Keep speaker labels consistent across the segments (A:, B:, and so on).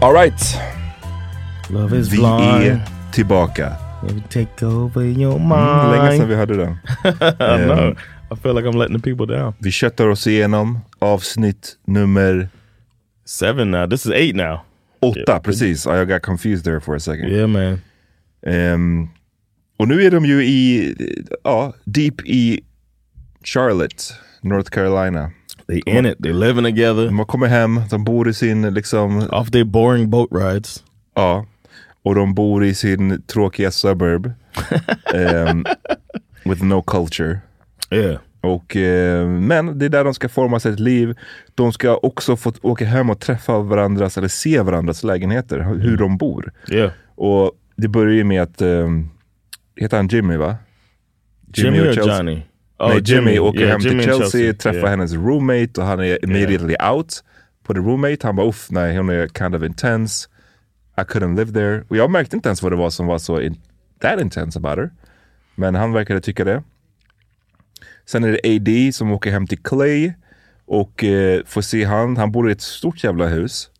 A: All right.
B: Love is
A: Vi
B: blind.
A: är tillbaka.
B: Let me take over your
A: Mm,
B: mind.
A: länge sedan vi hörde den.
B: I know.
A: Ehm,
B: I feel like I'm letting the people down.
A: vi köttar oss igenom avsnitt nummer
B: Seven now. This is eight now.
A: åtta. Precis, I got confused there for a second.
B: Yeah, man.
A: Ehm, och nu är de ju i, ja, deep i Charlotte, North Carolina.
B: They in it. They living together.
A: De kommer hem, de bor i sin, liksom,
B: Off their boring boat rides.
A: ja. Och de bor i sin tråkiga suburb. Ehm, with no culture.
B: Yeah.
A: Och, eh, men det är där de ska forma sitt liv. De ska också få åka hem och träffa varandras, eller se varandras lägenheter, hu- hur de bor.
B: Yeah.
A: Och det börjar ju med att, eh, heter han Jimmy va?
B: Jimmy, or
A: Chelsea?
B: Johnny? Oh,
A: Nej, Jimmy, åker
B: Yeah,
A: hem
B: Jimmy
A: till
B: and
A: Chelsea, träffar
B: Yeah.
A: hennes roommate och han är immediately out på the roommate. Han bara uff, nej hon är kind of intense. I couldn't live there. Och jag märkte inte ens vad det var som var så in, that intense about her. Men han verkade tycka det. Sen är det AD som åker hem till Clay och eh, får se han. Han bor i ett stort jävla hus.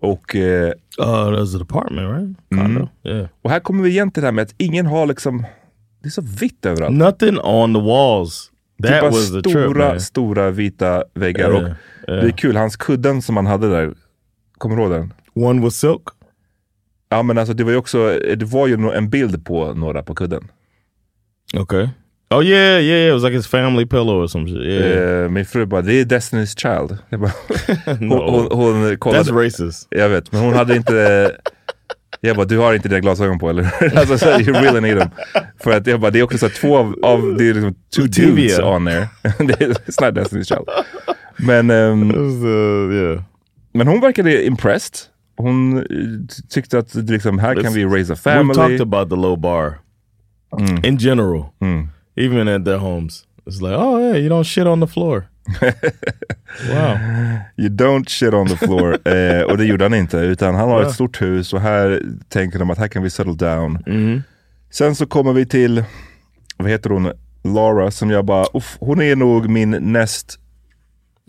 A: Och eh, Mm.
B: Oh, that's an apartment, right? Condo. Yeah.
A: Och här kommer vi igen till det här med att ingen har liksom... Det är så vitt överallt.
B: Nothing on the walls.
A: det är
B: That
A: bara
B: was the trip,
A: stora,
B: man.
A: stora vita väggar.
B: Ja,
A: och Det är kul, hans kudden som han hade där, kommer du ihåg den?
B: One was silk.
A: Ja men alltså det var ju också, det var ju nå- en bild på några på kudden.
B: Okay. Oh yeah, yeah, yeah. It was like his family pillow or some shit. Yeah.
A: Eh, Min fru bara, det är Destiny's Child. Jag bara, hon, hon, hon kollade.
B: That's racist.
A: Jag vet, men hon hade inte... Jag bara, du har inte dina glasögon på eller? Alltså, så här, you really need them. För att jag bara, det är också så här, två av, av det är liksom two dudes
B: Tibia.
A: on there. Det är- It's not Destiny's Child. Men, ehm,
B: It was, uh, yeah.
A: men hon verkade impressed. Hon eh, tyckte att liksom, här kan vi raise a
B: We
A: family. Mm.
B: talked about the low bar in general, even at their homes. It's like, oh yeah, you don't shit on the floor. wow.
A: You don't shit on the floor. eh, och det gjorde han inte, utan han har ett stort hus och här tänker de att här kan vi settle down.
B: Mm.
A: Sen så kommer vi till, vad heter hon, Laura som jag bara, uff, hon är nog min näst,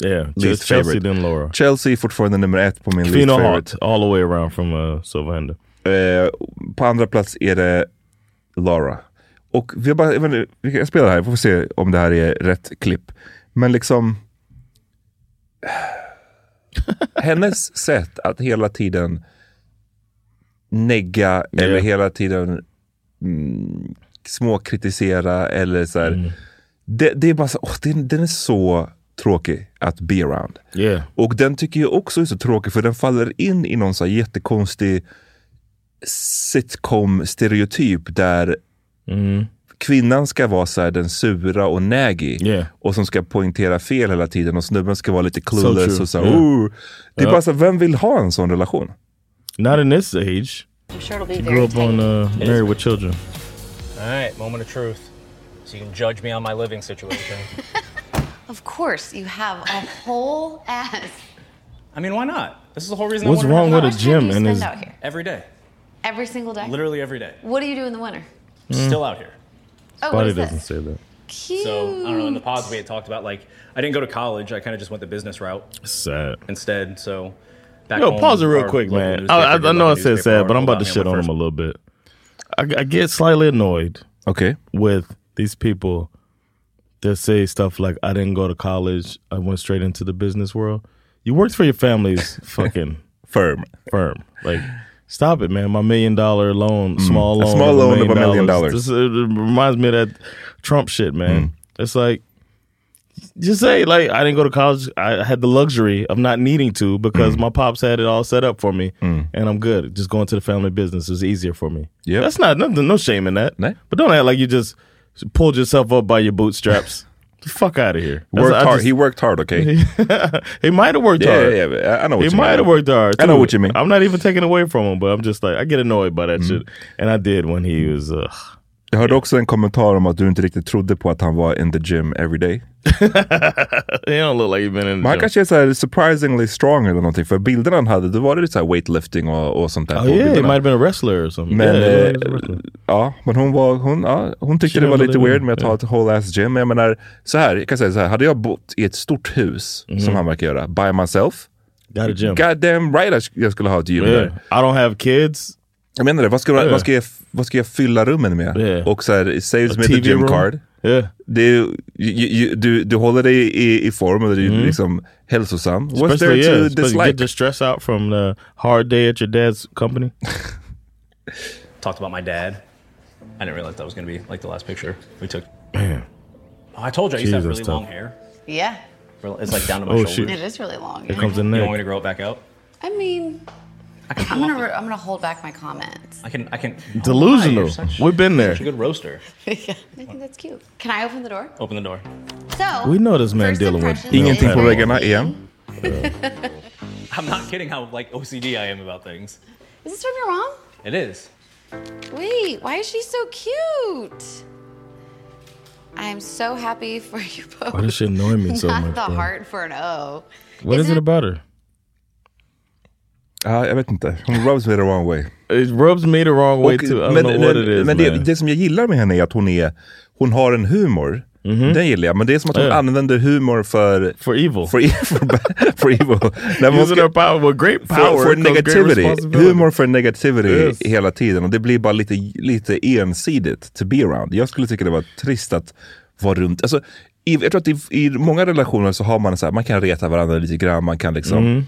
B: Yeah.
A: Least
B: Just Chelsea
A: favorite.
B: then Laura.
A: Chelsea är fortfarande nummer ett på min least
B: Fina
A: favorite.
B: Hart all the way around from uh, Sylvander.
A: Eh, på andra plats är det Laura. Och vi har bara, jag, vet inte, vi kan- jag spelar här, vi får se om det här är rätt klipp. Men liksom... hennes sätt att hela tiden negga eller
B: Yeah.
A: hela tiden mm, småkritisera eller så här. Det, det är bara så, åh, den, den är så tråkig att be around.
B: Yeah.
A: Och den tycker jag också är så tråkig för den faller in i någon så här jättekonstig sitcom-stereotyp där
B: Mm.
A: kvinnan ska vara så här den sura och nägig
B: Yeah.
A: och som ska poängtera fel hela tiden och snubben ska vara lite clueless
B: true.
A: och så här,
B: Yeah.
A: "Ooh." Det är bara så här, vem vill ha en sån relation?
B: Not in this age.
C: I'm sure it'll be Oh,
B: Grew up on uh, Married with Children.
D: All right, moment of truth. So you can judge me on my living situation.
C: Of course, you have a whole ass.
D: I mean, why not? This is the whole reason
B: What's
D: I wanted
B: wrong
D: to
B: with
C: How
B: a
C: much time do
B: gym
C: you
B: and
C: spend
B: his?
C: out here?
D: Every day.
C: Every single day.
D: Literally every day.
C: What do you do in the winter?
D: Still out here.
C: Oh, what
B: Body
C: is
B: doesn't
C: this?
B: say that.
C: Cute.
D: So, I don't know, in the pods we had talked about, like, I didn't go to college. I kind of just went the business route
B: It's sad.
D: instead. So, back
B: Yo,
D: home,
B: pause it real
D: our
B: quick,
D: local
B: man.
D: newspaper
B: I, I,
D: did
B: I know I
D: like a
B: said
D: newspaper
B: sad, but I'm
D: article
B: about to
D: me
B: shit on
D: when first
B: him a little bit. I, I get slightly annoyed
A: Okej.
B: with these people that say stuff like, I didn't go to college, I went straight into the business world. You worked for your family's fucking
A: Firm.
B: firm. Like, stop it, man. My million dollar loan, small
A: Mm. A
B: loan.
A: small loan of a million dollars. Mm.
B: This uh, reminds me of that Trump shit, man. It's like, just say, like, I didn't go to college. I had the luxury of not needing to because
A: Mm.
B: my pops had it all set up for me and I'm good. Just going to the family business is easier for me.
A: Yep.
B: That's not, nothing, no shame in that.
A: No.
B: But don't act like you just pulled yourself up by your bootstraps. The fuck out of here. That's-
A: Worked
B: I
A: hard.
B: just-
A: He worked hard, okej?
B: he might have worked
A: Yeah,
B: hard.
A: yeah, yeah. I- I know what
B: It
A: you
B: might
A: mean.
B: have worked hard.
A: I know
B: too.
A: what you mean. Mm-hmm.
B: I'm not even taking away from him, but I'm just like I get annoyed by that shit, and I did when he was. Uh,
A: Jag hörde också en kommentar om att du inte riktigt trodde på att han var in the gym every day.
B: he don't look like he been in.
A: Men
B: The
A: han
B: gym.
A: kanske är så här surprisingly strong eller någonting. För bilderna han hade, då var det lite så här weightlifting och, och sånt där.
B: Oh
A: på
B: yeah, he
A: bilderna.
B: might have been a wrestler or something.
A: Men,
B: yeah, he
A: eh,
B: was a wrestler.
A: ja, men hon, var, hon, ja, hon tyckte
B: She
A: det var
B: didn't
A: lite
B: believe
A: weird
B: it.
A: med att ha ett whole ass gym. Men jag menar, så här, jag kan säga så här. Hade jag bott i ett stort hus,
B: Mhm.
A: som han verkar göra, by myself.
B: got a gym.
A: God damn right att jag skulle ha ett gym
B: yeah.
A: där.
B: I don't have kids.
A: Jag menar det, vad ska,
B: Yeah.
A: vad ska, jag, vad ska jag fylla rummen med?
B: Yeah.
A: Och så här, it saves
B: A
A: me the
B: TV
A: gym
B: room.
A: card.
B: Yeah,
A: Det är, ju- ju- ju- du, du håller dig i, i form och du är liksom hälsosam. What's there
B: Mhm. especially yeah,
A: to
B: especially
A: dislike?
B: get the stress out from the hard day at your dad's company.
D: Talked about my dad. I didn't realize that was going to be like the last picture we took. Man. Oh, I told you I used to have
B: Jesus,
D: really long
B: tough.
D: hair.
C: yeah,
D: It's like down to my
B: Oh,
D: shoulders.
B: shoot.
C: it is really long.
B: Here
C: yeah.
B: comes the
D: You want me
B: neck.
D: to grow it back out?
C: I mean, I'm gonna re- I'm gonna hold back my comments.
D: I can, I can.
B: Delusional.
D: Oh, my, you're such-
B: We've been there.
D: Such a good roaster.
C: I think that's cute. Can I open the door?
D: Open the door.
C: So
B: We know this man
C: first
B: dealing with
C: impressions
A: Ingenting
C: is-
A: på väggarna igen.
D: I'm not kidding how like OCD I am about things.
C: Is this from your mom?
D: It is.
C: Wait, why is she so cute? I am so happy for you both.
B: Why does she annoy me so
C: Not
B: much?
C: the
B: bro?
C: heart for an O.
B: What is it about her?
A: Ja, jag vet inte. Hon rubs me the wrong way.
B: It rubs me the wrong way
A: Och-
B: too. I don't
A: men
B: know what
A: men-
B: it is.
A: men det,
B: man.
A: det som jag gillar med henne är att hon, är, hon har en humor. Den gillar jag, men det är som att hon
B: Yeah.
A: använder humor för...
B: Mm-hmm.
A: e-
B: for evil.
A: för, för, för evil. När man
B: Using
A: ska-
B: her power with great
A: för,
B: power.
A: för
B: comes great
A: negativity.
B: responsibility.
A: Humor för negativity
B: Yes.
A: hela tiden. Och det blir bara lite, lite ensidigt to be around. Jag skulle tycka det var trist att vara runt. Alltså, i, jag tror att i, i många relationer så har man så här, man kan reta varandra lite grann, man kan liksom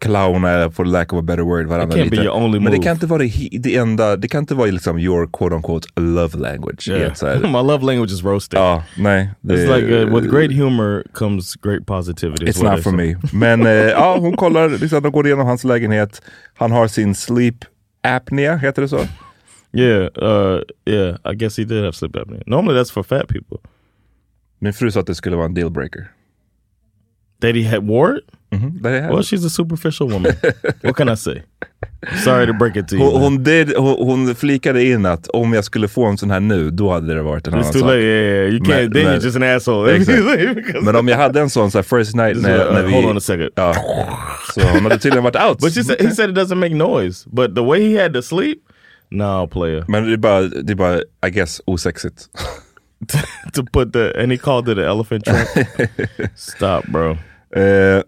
A: clowna, for lack of a better word, varandra
B: Mm. It can't be
A: lite.
B: your only
A: Men det
B: move.
A: kan inte vara he- det enda, det kan inte vara liksom your quote unquote love language. i ett så här-
B: My love language is roasting.
A: ja, nej. Det,
B: It's like uh, with great humor comes great positivity. is
A: It's
B: what
A: not
B: they
A: for
B: say.
A: me. Men eh, ja, hon kollar, liksom, de går igenom hans lägenhet. Han har sin sleep apnea, heter det så?
B: Yeah, uh, yeah. I guess he did have sleep apnea. Normally that's for fat people.
A: Min fru sa att det skulle vara en dealbreaker.
B: That he had wore it. Well,
A: Mm,
B: she's a superficial woman. what can I say? Sorry to break it to you.
A: hon,
B: man.
A: hon, did, hon, hon flikade in att om jag skulle få en sån här nu, då hade det varit en
B: It's
A: annan
B: too
A: sak.
B: late. Yeah, yeah, yeah. You
A: Men-
B: can't. then
A: men-
B: you're just an asshole.
A: Exakt. Men om jag hade en sån så här first night
B: Just
A: när,
B: like, uh,
A: när vi...
B: hold on a second.
A: Ja. Så hon hade tydligen varit out.
B: But she said, he said it doesn't make noise. But the way he had to sleep, no player.
A: Men det är, bara, det är bara, I guess, osexigt.
B: to put the and he called it an elephant trunk. Stop, bro.
A: Eh,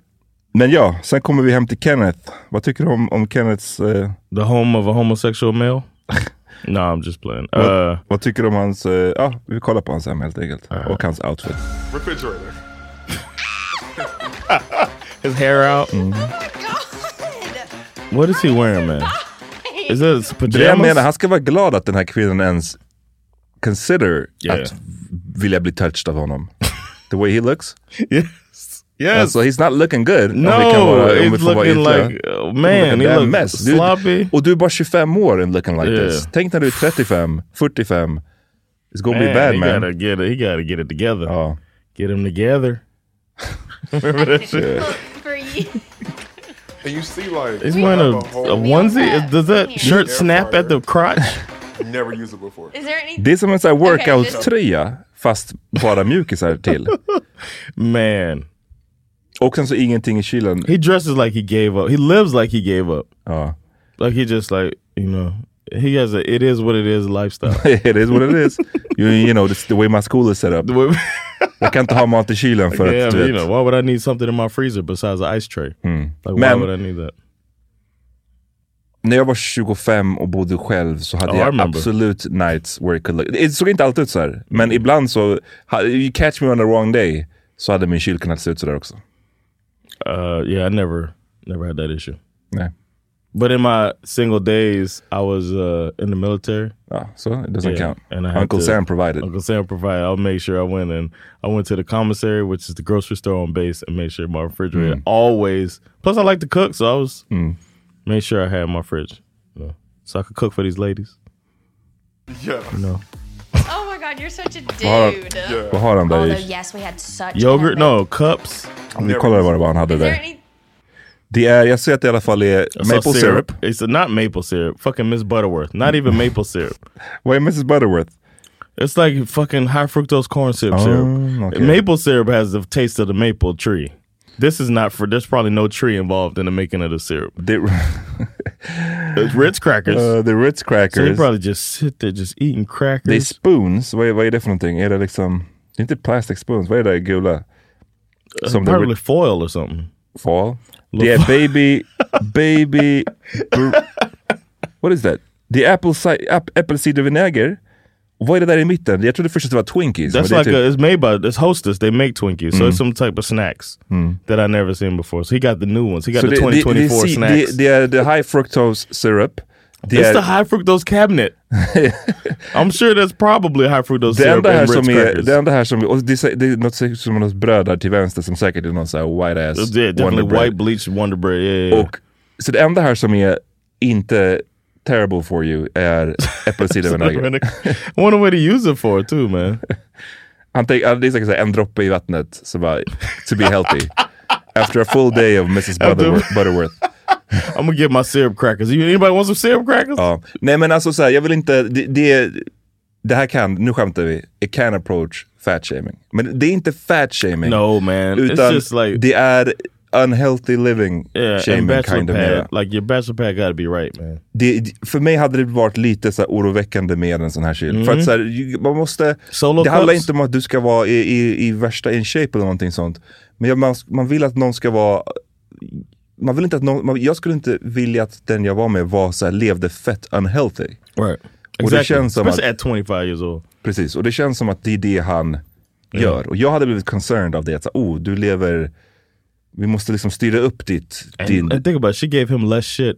A: men ja, sen kommer vi hem till Kenneth. Vad tycker du om, om Kenneths... eh,
B: The home of a homosexual male. no, I'm just playing. Uh,
A: Vad tycker du om hans... eh, Ja, vi kollar på hans hem helt enkelt. Och hans outfit.
E: Refrigerator.
B: his hair out. mm-hmm. What is he wearing, man? Is it his
A: Det jag menar,
B: pajamas?
A: han ska vara glad att den här kvinnan ens consider
B: Yeah.
A: att vilja bli touched av honom. The way he looks.
B: yes. Yes.
A: Alltså, he's not looking good. om vi kan
B: no,
A: vara- om vi
B: he's
A: får vara
B: looking
A: ytliga.
B: like oh, man. He
A: Look at that
B: looks
A: mess. Du-
B: sloppy.
A: Och du är bara 25 år and looking like
B: Yeah.
A: this. Tänk när du är 35, 45. It's gonna
B: Man,
A: be bad
B: he
A: man. Oh.
B: gotta get it. He gotta get it together.
A: Ja.
B: Get him together.
F: for you.
E: And you see, like,
B: He's wearing a, a onesie. Is- Does that
F: Yeah.
B: shirt snap at the crotch?
E: never used it before.
F: Is there any?
A: Det är som en sån här
F: Okej,
A: workout-tröja, fast bara mjukisar till.
B: Man,
A: Och sen så ingenting i kylen.
B: he dresses like he gave up. He lives like he gave up.
A: Ja.
B: Like he just like you know. He has a it is what it is lifestyle.
A: It is what it is. You, you know, this is the way my school is set up.
B: The way-
A: Jag kan inte ha mat i kylen för
B: yeah,
A: att
B: but,
A: du
B: you know,
A: vet. Hmm.
B: why would I need something in my freezer besides an ice tray? Like why
A: Man.
B: would I need that?
A: När jag var 25 och bodde själv så hade
B: Ja, I
A: jag
B: remember.
A: absolut nights where it could look... Det såg inte alltid ut så här. Men ibland så, ha- you catch me on the wrong day, så hade min kyl kunnat se ut så där också.
B: Uh, yeah, I never never had that issue.
A: Nej.
B: But in my single days, I was uh, in the military.
A: Ja, så Oh, it doesn't
B: Yeah,
A: count.
B: and I had
A: Uncle
B: to-
A: Sam provided.
B: Uncle Sam provided. I'll make sure I went and I went to the commissary, which is the grocery store on base, and made sure my
A: Hmm.
B: refrigerator always. Plus, I like to cook, so I was made sure I had my fridge, you know, so I could cook for these ladies.
E: Yeah.
B: No
F: Oh my God, you're such a
A: Har-
F: dude.
E: Yeah.
A: Vad har han där
F: Although
A: i?
F: yes, we had such
B: yogurt,
F: an
B: no cups.
A: Vi kollar vad det var han hade
F: Is there
A: där.
F: any?
A: Det är, jag ser att det i alla fall är
B: I saw
A: maple syrup.
B: It's not maple syrup. Fucking Miss Butterworth. Not even maple syrup.
A: Vad är Mrs Butterworth? Oh,
B: It's like fucking high fructose corn syrup. syrup.
A: okay.
B: Maple syrup has the taste of the maple tree. This is not for. There's probably no tree involved in the making of the syrup.
A: The,
B: It's Ritz crackers.
A: uh, the Ritz
B: So they
A: crackers.
B: probably just sit there just eating
A: det är
B: crackers.
A: spoons. Vad är, vad är det för någonting? Är det liksom... Det är inte plastic spoons. Vad är det där gula? Som the
B: probably
A: Ritz
B: foil or something.
A: fall? Det är baby... baby... br- What is that? Det är apple, ci- ap- apple cider vinegar. Och Vad är det där i mitten? Jag trodde först att det var Twinkies.
B: That's
A: men
B: like
A: det är
B: a,
A: typ-
B: it's made by it's Hostess. They make Twinkies, so
A: Mm.
B: it's some type of snacks that I never seen before. So he got the new ones. He got
A: Så
B: the
A: det- det- det är
B: 2024
A: ci-
B: snacks.
A: Det det är the high fructose syrup. Det
B: it's
A: är-
B: the high fructose cabinet. I'm sure that's probably high fructose
A: Det
B: syrup
A: enda, här
B: and Ritz
A: som är,
B: crackers.
A: det enda här som är, och det är, sä- det är något sä- som något bröd där till vänster som säkert är någon sån här white ass
B: yeah, definitely
A: Wonder Bread.
B: white bleached Wonder Bread. Yeah, yeah, yeah.
A: Och, så det enda här som är inte terrible for you är äppelcidervinäger.
B: I wonder what he used it for too, man.
A: Han tänk- han- det är säkert så här en droppe i vattnet så bara, to be healthy. After a full day of Mrs Butterworth. Butterworth.
B: I'm gonna get my syrup crackers. You, anybody want some syrup crackers?
A: Ja. Nej men alltså så här, jag vill inte, det, det, det här kan, nu skämtar vi, it can approach fat shaming. Men det är inte fat shaming.
B: no, man. it's
A: Utan
B: just like
A: det är unhealthy living
B: Yeah, and
A: shaming
B: bachelor
A: kind of
B: pad.
A: mera.
B: Like your bachelor pad got to be right, man.
A: det, det- För mig hade det varit lite så här oroväckande med en sån här kyl. För att så här, ju- man måste,
B: Mm. Solo
A: det handlar
B: cups?
A: inte om att du ska vara i, i, i värsta in shape eller någonting sånt. Men jag, man, man vill att någon ska vara man vill inte att någon, man, jag skulle inte vilja att den jag var med var så här, levde fett unhealthy.
B: Right.
A: Och det
B: Exactly.
A: känns som
B: Especially
A: att-
B: at 25 years old.
A: Precis, och det känns
B: Mm.
A: som att det är det han gör. Och jag hade blivit concerned av det. Att, så här, oh, du lever Vi måste liksom styra upp ditt,
B: And,
A: din...
B: and think about it, she gave him less shit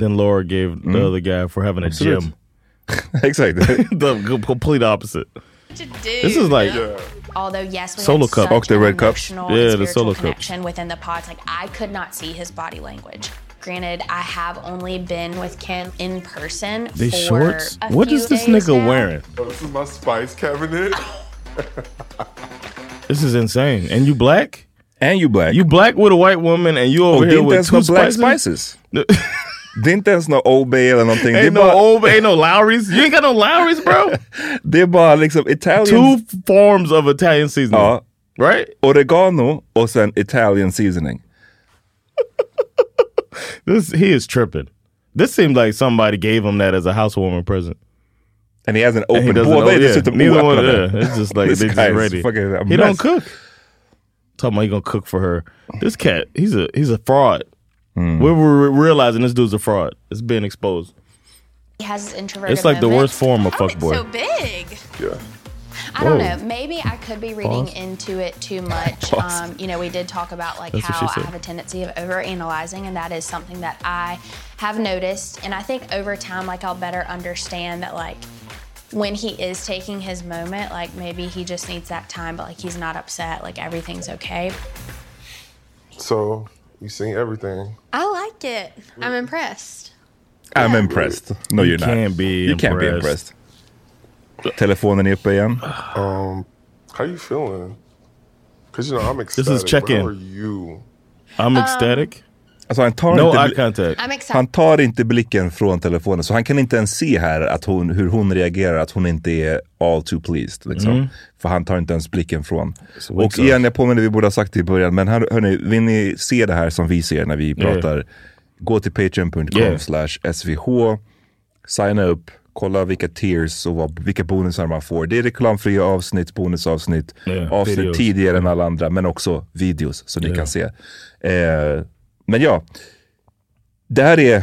B: than Laura gave the
A: Mm.
B: other guy for having a
A: Absolut.
B: gym.
A: Exakt.
B: the complete opposite.
F: This
B: is like-
F: Although yes, we
B: Solo
F: had
B: cup.
F: such
B: Fuck the
F: an
B: red cups.
F: emotional
B: Yeah,
F: and
B: the
F: spiritual
B: solo cups.
F: connection within the pods. Like I could not see his body language. Granted, I have only been with Ken in person.
B: These
F: for
B: shorts?
F: a
B: What
F: few
B: is this
F: days
B: nigga
F: now.
B: wearing?
E: Oh, this is my spice cabinet.
B: This is insane. And you black?
A: And you black. Oh,
B: You black with a white woman and you
A: Och
B: over
A: det är
B: here
A: inte
B: with
A: ens
B: two
A: några black
B: spices?
A: spices. det är inte ens några OB eller någonting. det, är
B: Ain't no
A: bara,
B: old, ain't no Lowry's. You ain't got no Lowry's, bro.
A: det är bara liksom Italian...
B: Two forms of Italian seasoning.
A: Ja.
B: Right?
A: Oregano och sen Italian seasoning.
B: This he is tripping. This seemed like somebody gave him that as a housewarming present.
A: And he hasn't
B: And he
A: opened.
B: doesn't
A: Båda
B: know-
A: är
B: yeah,
A: dessutom
B: Neither one.
A: oöppnade.
B: Yeah, it's just like
A: This
B: they just
A: guy is
B: ready.
A: fucking a
B: He don't
A: mess.
B: cook. Talking about he gonna cook for her. This cat, he's a he's a fraud.
A: Hmm.
B: We're, we're realizing this dude's a fraud. It's being exposed.
F: He has his introverted.
B: It's like the
F: moments.
B: worst form of
F: Oh, it's
B: fuckboy.
F: so big.
E: yeah.
F: I don't
B: Whoa.
F: know. Maybe I could be reading
B: Oh. Pause.
F: into it too much.
B: Pause.
F: Um, you know, we did talk about like
B: That's what
F: how
B: she
F: I
B: said.
F: have a tendency of overanalyzing, and that is something that I have noticed. And I think over time, like I'll better understand that like when he is taking his moment, like maybe he just needs that time, but like he's not upset, like everything's okay.
E: So you seen everything.
F: I like it. I'm impressed.
A: I'm impressed. No,
B: You
A: you're not.
B: can't be
A: you can't be
B: impressed.
A: impressed. Telefonen är uppe igen.
E: Um, how you feeling? Cause you know I'm excited.
B: is check-in.
E: How are you?
B: I'm ecstatic.
A: Alltså han tar,
B: No
A: inte,
B: eye
A: bli-
F: I'm
B: contact.
A: han
F: excited.
A: tar inte blicken från telefonen. Så han kan inte ens se här att hon, hur hon reagerar, att hon inte är all too pleased. Liksom.
B: Mm.
A: För han tar inte ens blicken från.
B: what's
A: Och igen, jag påminner, vi borde ha sagt det i början, men hör, hörni, vill ni se det här som vi ser när vi pratar, gå till patreon.com
B: Yeah.
A: slash svh, signa upp, kolla vilka tiers och vad, vilka bonusar man får. Det är reklamfria avsnitt, bonusavsnitt,
B: Yeah,
A: avsnitt
B: videos.
A: tidigare än alla andra, men också videos som ni kan se. Eh, men ja, det här är...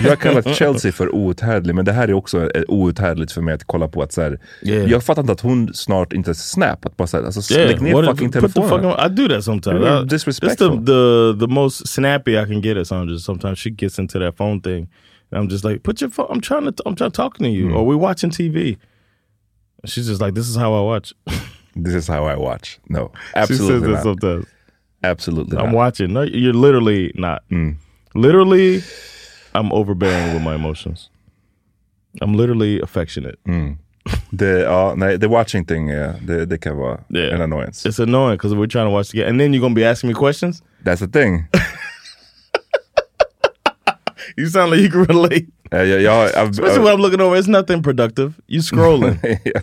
A: Jag har kallat Chelsea för outhärdlig, men det här är också eh, outhärdligt för mig att kolla på. att så här,
B: Yeah.
A: Jag fattar inte att hon snart inte snap, att bara så här, alltså,
B: Yeah,
A: lägg ner
B: what is-
A: fucking
B: put the
A: telefonen.
B: fucking- I do that sometimes.
A: You're
B: I,
A: disrespectful.
B: That's the, the the most snappy I can get at Sandra. Sometimes she gets into that phone thing, and I'm just like, "Put your phone." I'm trying to. I'm trying to talk to
A: Hmm.
B: you, or we're watching TV. And She's just like, "This is how I watch."
A: This is how I watch. No,
B: she says
A: absolutely
B: that
A: not.
B: sometimes.
A: Absolutely
B: I'm
A: not. Mm.
B: watching. No, you're literally not. Literally, I'm overbearing with my emotions. I'm literally affectionate.
A: Mm. Det, ja, nej, the watching thing, eh, det, det kan vara
B: Yeah.
A: en annoyance.
B: It's annoying because we're trying to watch together, and then you're gonna be asking me questions.
A: That's the thing.
B: You sound like you can relate.
A: Eh, jag, jag, I've-
B: Especially when I'm looking over, it's nothing productive. You scrolling.
A: Yeah.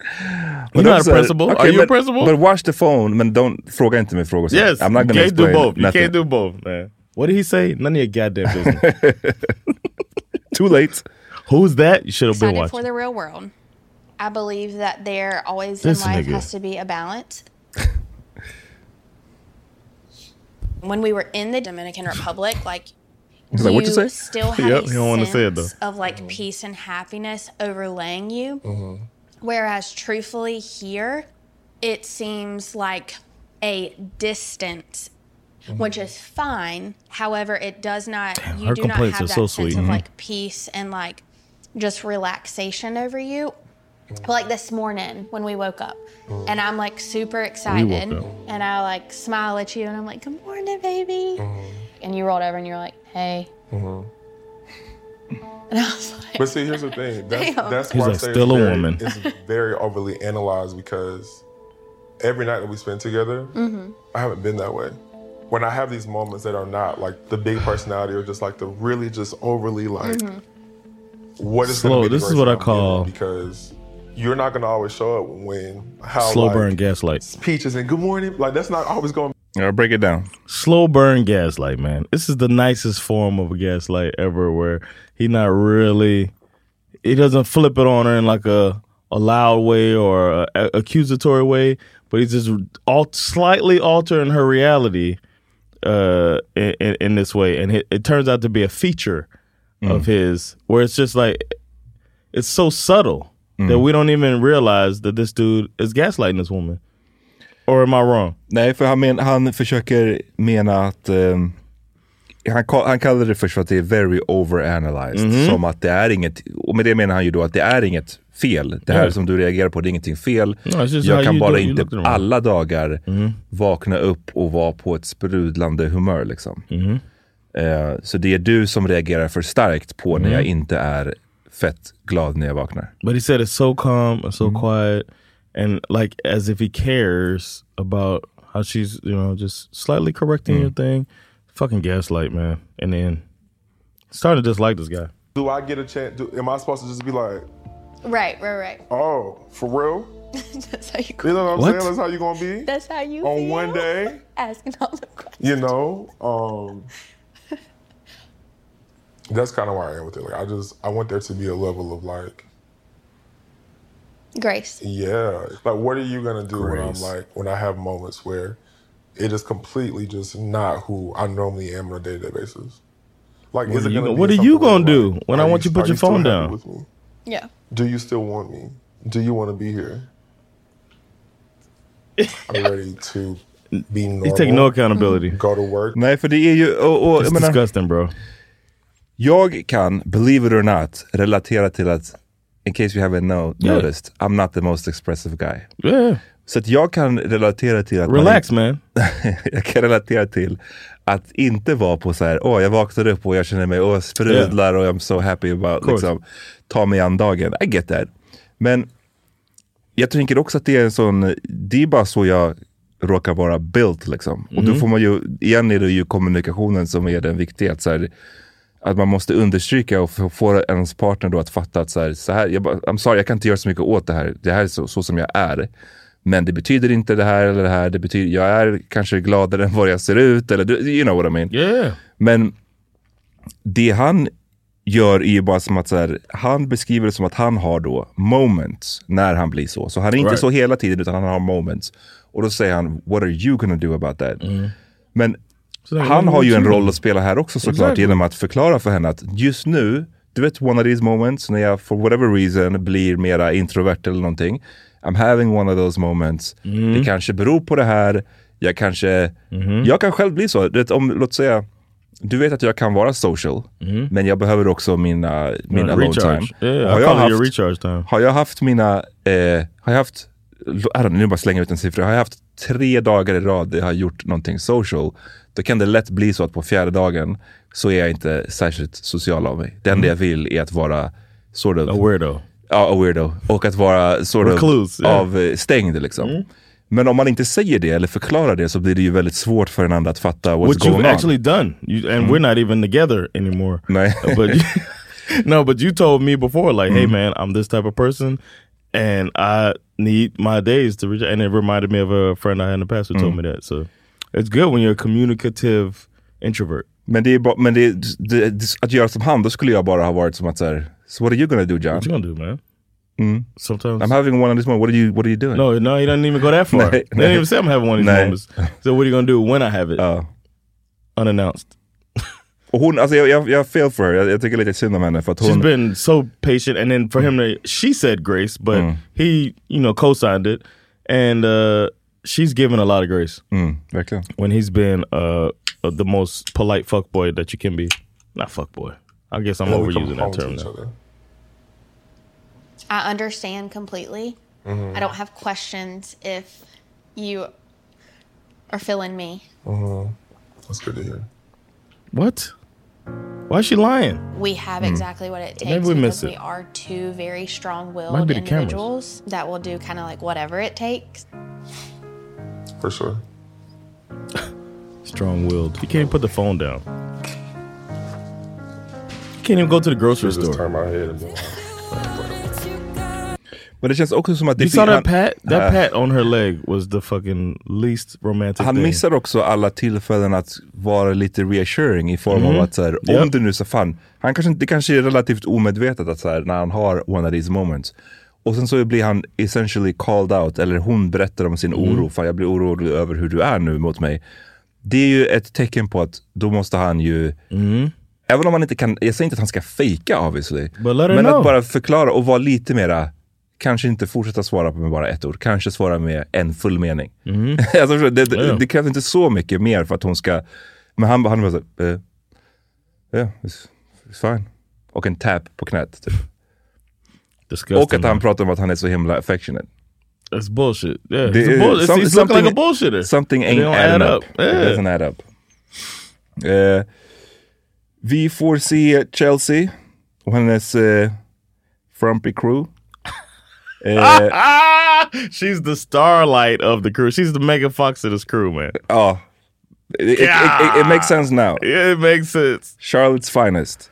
B: You're
A: Men
B: not
A: också-
B: principal.
A: okay,
B: Are you
A: but,
B: a principal?
A: But watch the phone, men don't, fråga inte mig frågor. sen.
B: yes.
A: I'm not
B: you
A: gonna
B: can't do
A: explain
B: both. You
A: nothing.
B: can't do both, man. What did he say? None of your goddamn business.
A: Too late.
B: Who's that? You should have been
F: Excited for
B: watching.
F: the real world. I believe that there always
B: This
F: in life
B: nigga.
F: has to be a balance. when we were in the Dominican Republic, like
A: He's like, what you say?
F: still have
B: Yep,
F: a
B: he don't wanna
F: sense
B: say it, Uh-huh.
F: of like peace and happiness overlaying you. Whereas truthfully here, it seems like a distance, which is fine. However, it does not
B: Mm-hmm. her
F: you do not have
B: complaints are
F: that
B: so
F: sense
B: sweet.
F: of
B: Mhm.
F: like peace and like just relaxation over you. But like this morning when we woke up,
E: Mm.
F: and I'm like super excited,
B: up.
F: and I like smile at you, and I'm like, "Good morning, baby,"
E: Mm.
F: and you rolled over and you're like, "Hey," Mm-hmm. and I was like.
E: But see, here's the thing. That's,
F: Damn.
E: that's
B: He's
E: why I
B: like,
E: say
B: still
E: it's
B: a
E: very,
B: woman.
E: It's very overly analyzed because every night that we spend together,
F: Mm-hmm.
E: I haven't been that way. When I have these moments that are not like the big personality or just like the really just overly like,
F: Mm-hmm.
E: what is gonna
B: Slow-
E: be the
B: this is
E: version
B: what I
E: I'm
B: call-
E: getting? because you're not gonna always show up when how
B: Slow
E: like,
B: burn gaslight.
E: peaches and good morning like that's not always going.
A: Yeah, break it down.
B: Slow burn gaslight, man. This is the nicest form of gaslight ever where he not really he doesn't flip it on her in like a, a loud way or a accusatory way, but he's just alt, slightly altering her reality uh, in, in- in this way, and it, it turns out to be a feature
A: Mm.
B: of his where it's just like it's
A: Mm.
B: so subtle that we don't even realize that this dude is gaslighting this woman. Or am I wrong?
A: Nej, för han, men, han försöker mena att ehm, han, ka- han kallar det först för att det är very overanalyzed. Som att det är inget, och med det menar han ju då att det är inget fel. Det här
B: Yeah.
A: som du reagerar på, det är ingenting fel.
B: No, it's just how
A: jag kan
B: you
A: bara
B: do- you
A: inte
B: look at it.
A: alla dagar vakna upp och vara på ett sprudlande humör. Liksom. Eh, så det är du som reagerar för starkt på när jag inte är fett glad när jag vaknar.
B: But he said it's so calm and so quiet and like as if he cares about how she's, you know, just slightly correcting your thing. Fucking gaslight, man. And then started to dislike this guy.
E: Do I get a chance? Do, am I supposed to just be like,
F: Right, right, right.
E: oh, for real?
F: That's how you.
E: You know what I'm
B: What?
E: saying? That's how you gonna be
F: That's how you.
E: on
F: feel?
E: one day.
F: Asking all the questions.
E: You know, um, that's kind of where I am with it. Like, I just I want there to be a level of like,
F: Grace.
E: yeah, like what are you gonna do when I'm
A: Grace.
E: like when I have moments where it is completely just not who I normally am on a day to day basis. Like, is
B: are
E: it gonna
B: you gonna-
E: be
B: what are
E: something
B: you
E: where,
B: gonna do
E: like,
B: when I
E: are
B: want you to put
E: are
B: your
E: still
B: phone
E: happy
B: down?
E: with me?
F: Yeah.
E: Do you still want me? Do you want to be here? I'm ready to be normal.
B: He's taking no accountability.
E: Go to work.
A: Nej, för det är ju... Och, och,
B: It's
A: jag menar,
B: disgusting, bro.
A: Jag kan, believe it or not, relatera till att, in case you haven't know,
B: Yeah.
A: noticed, I'm not the most expressive guy.
B: Yeah.
A: Så att jag kan relatera till att... man
B: Relax, man.
A: inte- jag kan relatera till att inte vara på så här, åh jag vaknade upp och jag känner mig, åh jag sprudlar och I'm so happy about,
B: course.
A: liksom, ta mig an dagen. I get that. Men jag tänker också att det är en sån, det är bara så jag råkar vara built liksom. Och då får man ju, igen är det ju kommunikationen som är den viktiga. Att, så här, att man måste understryka och få- få ens partner då att fatta att så här, så här jag, bara- I'm sorry, jag kan inte göra så mycket åt det här. Det här är så, så som jag är. Men det betyder inte det här eller det här. Det betyder, jag är kanske gladare än vad jag ser ut. Eller, du- you know what I mean.
B: Yeah.
A: Men det han gör är ju bara som att så här, han beskriver det som att han har då moments när han blir så. Så han är inte
B: Right.
A: så hela tiden utan han har moments. Och då säger han, what are you gonna do about that?
B: Mm.
A: Men
B: So then what
A: han
B: do
A: har
B: you
A: ju en
B: do?
A: roll att spela här också såklart
B: Exactly.
A: genom att förklara för henne att just nu, du vet one of these moments när jag for whatever reason blir mera introvert eller någonting. I'm having one of those moments.
B: Mm.
A: Det kanske beror på det här. Jag kanske,
B: Mm-hmm.
A: jag kan själv bli så. Du vet, om, låt säga, du vet att jag kan vara social, men jag behöver också mina, min alone time.
B: Mhm. recharge. Yeah,
A: Har
B: I
A: jag
B: call it your
A: haft-
B: recharge time.
A: har jag haft mina, eh, har jag haft, I don't know, nu bara slänger jag ut en siffra, har jag haft tre dagar i rad där jag har gjort någonting social, då kan det lätt bli så att på fjärde dagen så är jag inte särskilt social av mig. Det enda jag vill är att vara sort of,
B: Mm. A weirdo.
A: ja, a weirdo och att vara sort
B: Recluse,
A: of
B: yeah. Mm.
A: av eh, stängd liksom. Men om man inte säger det eller förklarar det så blir det ju väldigt svårt för den andra att fatta what's
B: What
A: going
B: you've
A: on. Mm-hmm.
B: actually done. You, and we're not even together anymore. Uh,
A: Nej.
B: but you, no, but you told me before, like,
A: Mm-hmm.
B: hey man, I'm this type of person, and I need my days to reach. And it reminded me of a friend I had in the past who told
A: Mm.
B: me that. So it's good when you're a communicative introvert.
A: Men, det är bara, men det, det, det, att göra som han, då skulle jag bara ha varit som att så här, so what are you gonna do John?
B: What you gonna do, man? Sometimes.
A: Mm. I'm having one of these moments, what are you, what are you doing?
B: no, no, he doesn't even go that far.
A: Nej,
B: they didn't
A: nej.
B: even say I'm having one of these
A: Nej.
B: moments. So what are you gonna do when I have it
A: Ja.
B: unannounced?
A: Och hon, alltså jag, jag, jag feel for her. Jag, jag tycker lite synd om henne för att
B: She's
A: hon...
B: been so patient, and then for him to she said grace, but he you know co-signed it, and uh, she's given a lot of grace
A: Mm, verkligen.
B: when he's been uh, uh, the most polite fuckboy that you can be. Not fuckboy. I guess
E: and
B: I'm
E: then we come
B: overusing
E: home
B: that
E: to
B: term
E: each
B: now.
E: other.
F: I understand completely.
E: Mm-hmm.
F: I don't have questions if you are feeling me.
E: Uh-huh. That's good to hear.
B: What? Why is she lying?
F: We have exactly what it takes
B: Hmm. Maybe we
F: because
B: missed it.
F: we are two very
B: Might
F: strong-willed
B: be the cameras.
F: individuals that will do kind of like whatever it takes.
E: For sure.
B: Strong-willed. He can't put the phone down. He can't even go to the grocery
E: Just
B: store.
E: turn my head and go.
A: Men det känns också som att...
B: You
A: det
B: saw
A: fin-
B: that pat? That
E: Uh-huh.
A: Ja.
B: pat on her leg was the fucking least romantic.
A: Han
B: thing.
A: missar också alla tillfällen att vara lite reassuring i form
B: Mhm.
A: av att så här, om
B: Japp.
A: du nu så fan, han kanske, inte- det kanske är relativt omedvetet att så här, när han har one of these moments. Och sen så blir han essentially called out, eller hon berättar om sin
B: Mm.
A: oro, fan jag blir orolig över hur du är nu mot mig. Det är ju ett tecken på att då måste han ju,
B: Mm.
A: även om han inte kan, jag säger inte att han ska fejka obviously,
B: But let her
A: men
B: know.
A: att bara förklara och vara lite mera Kanske inte fortsätta svara på med bara ett ord. Kanske svara med en full mening.
B: Mm.
A: alltså, förstår du? det, det,
B: Ja.
A: det krävs inte så mycket mer för att hon ska... Men han, han bara så här, eh, yeah, it's, it's fine. Och en tap på knät. Typ.
B: Disgusting.
A: Och att han pratar om att han är så himla affectionate.
B: That's bullshit. Yeah,
A: Det-
B: it's a bull- it's,
A: some-
B: he's looking like a
A: something-
B: bullshitter.
A: Something
B: They
A: ain't
B: don't
A: adding
B: add
A: up.
B: up. Yeah.
A: It doesn't add up. Eh, vi får se Chelsea och hennes eh, frumpy crew. Eh,
B: Ah, she's the starlight of the crew. She's the Megan Fox of this crew, man.
A: Ja. Oh. It, it, it, it makes sense now.
B: Yeah, it makes sense.
A: Charlottes finest.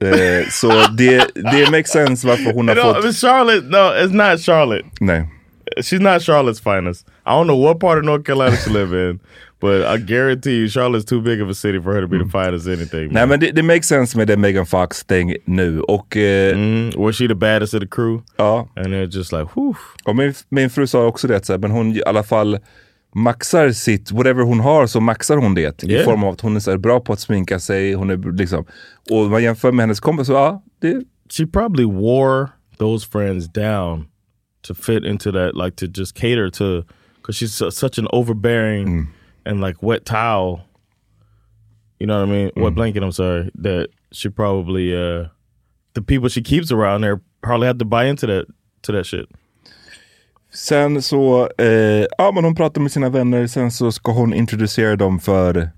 A: Eh, så det, det makes sense varför hon har
B: No,
A: fått...
B: it's Charlotte. No, it's not Charlotte.
A: Nej.
B: She's not Charlotte's finest. I don't know what part of North Carolina she live in, but I guarantee you, Charlotte's too big of a city for her to be the
A: Mm.
B: finest
A: Nej
B: anything. man.
A: men det, det makes sense med det Megan Fox thing nu. Och eh,
B: Mm, was she the baddest of the crew?
A: ja,
B: And they're just like, whew.
A: och min, min fru sa också det, så här, men hon i alla fall maxar sitt, whatever hon har så maxar hon det.
B: Yeah.
A: I form av att hon är så här, bra på att sminka sig, hon är liksom... Och man jämför med hennes kompis, så ja, det...
B: She probably wore those friends down to fit into that, like to just cater to, because she's su- such an overbearing and like wet towel. You know what I mean? Wet blanket, I'm sorry. That she probably, uh the people she keeps around her probably have to buy into that, to that shit.
A: Sen så, eh, ja men hon pratar med sina vänner, sen så ska hon introducera dem för,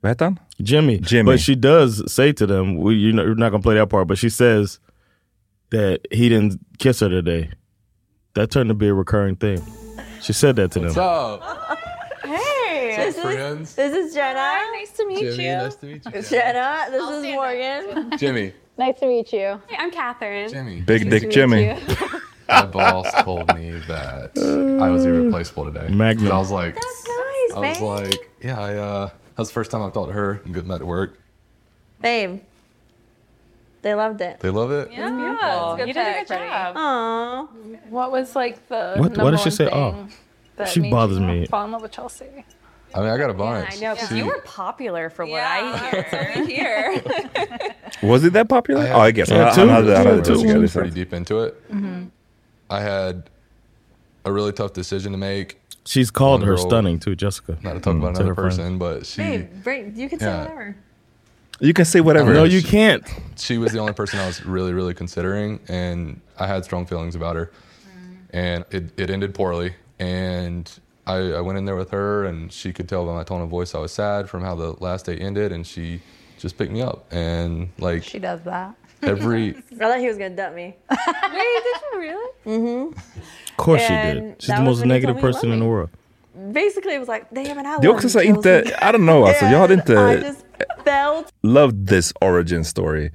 A: vad heter han?
B: Jimmy.
A: Jimmy.
B: But she does say to them, we, you know, you're not going to play that part, but she says that he didn't kiss her today. That turned to be a recurring thing. She said that to them.
G: up? Hey. What's up, friends? This is Jenna. nice to meet you. Nice to meet you. Jenna, this is Morgan. Jimmy. Nice to meet you. I'm Catherine. Jimmy.
A: Big Dick Jimmy.
G: My boss told me that I was irreplaceable today.
B: Magnum.
G: And I was like,
H: Nice,
G: I was like, yeah, I, uh, that was the first time I told her I'm good at work.
H: babe. They loved it.
G: They love it. Yeah.
H: you did a good job. Aww.
C: What was like the
B: What, what did she say? Oh, she bothers me.
C: fall in love with Chelsea?
G: I mean, I got a bunch.
H: I know, because you
G: She-
H: were popular for what I hear.
A: Was it that popular?
G: I
A: Ja, I guess.
B: had
A: Han-
B: two.
A: han hade, han
B: Yeah,
A: hade
B: two.
A: tusika, det är
G: was pretty
A: sant.
G: deep into it.
H: Mm-hmm.
G: I had a really tough decision to make.
B: She's called
G: One
B: her
G: girl-
B: stunning too, Jessica. Mm,
G: Not to
A: Hmm,
G: talk about
B: To her
G: another person,
B: friend.
G: but she
H: Babe, bring, you can say
G: Yeah.
H: whatever.
A: You can say whatever.
B: No, you can't.
G: she was the only person I was really, really considering, and I had strong feelings about her. And it, it ended poorly. And I, I went in there with her, and she could tell by my tone of voice I was sad from how the last day ended, and she just picked me up. And like
C: She does that.
G: every,
H: I thought he was going to dump me.
C: Wait, did you really? Mm-hmm.
B: Of course she
H: And
B: did. She's
H: that
B: the
H: was
B: most
H: when he
B: negative
H: told me he
B: person
H: loved
B: in the
H: me.
B: world.
H: Basically, it was like, damn it, I love
A: Det är också så här, inte, I don't
B: Oh,
A: know alltså. Jag hade inte
B: uh,
H: I just felt
A: loved this origin story.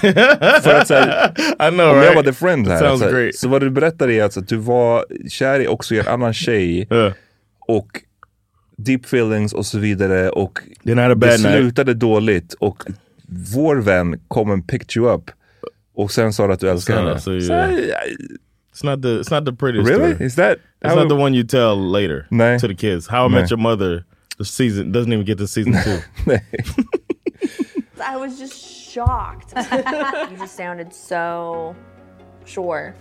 A: För att så här,
B: I know,
A: om jag var
B: right?
A: the friend här,
B: Sounds
A: så, här,
B: great.
A: så vad du berättar är alltså att du var kär i också i en annan tjej
B: Yeah.
A: och deep feelings och så vidare och
B: Then I had
A: det
B: a bad night.
A: slutade dåligt och vår vän kom and picked you up och sen sa du att du älskar
B: Så-
A: henne.
B: så är
A: Så,
B: det.
A: I-
B: It's not the. It's not the prettiest.
A: really?
B: story.
A: Is that?
B: It's not the one you tell later
A: Nah.
B: to the kids. How I Met Your Mother. The season doesn't even get to season two.
H: I was just shocked. you just sounded so sure.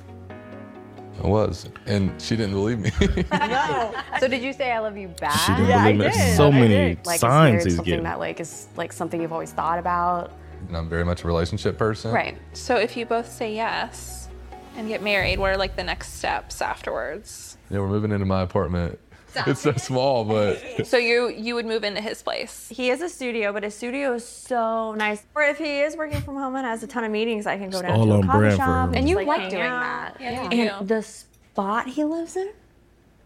G: I was, and she didn't believe me.
C: So did you say I love you back?
B: She didn't
H: Oh. Yeah, I
B: believe it.
H: did.
B: So
H: I
B: many
C: Like,
B: signs
C: is there
B: he's
C: something
B: getting.
C: that like is like something you've always thought about?
G: and I'm very much a relationship person.
H: Right. So if you both say yes and get married, what are like the next steps afterwards?
G: Yeah, we're moving into my apartment. It's so small, but
H: So you you would move into his place. He is a studio, but his studio is so nice. Or if he is working from home and has a ton of meetings, I can go down
B: all
H: to a
B: on
E: brand
H: coffee
E: for
H: shop.
E: her.
C: And you
H: just,
C: like
H: hang
C: doing
H: out.
C: that. Yeah.
H: And the spot he lives in?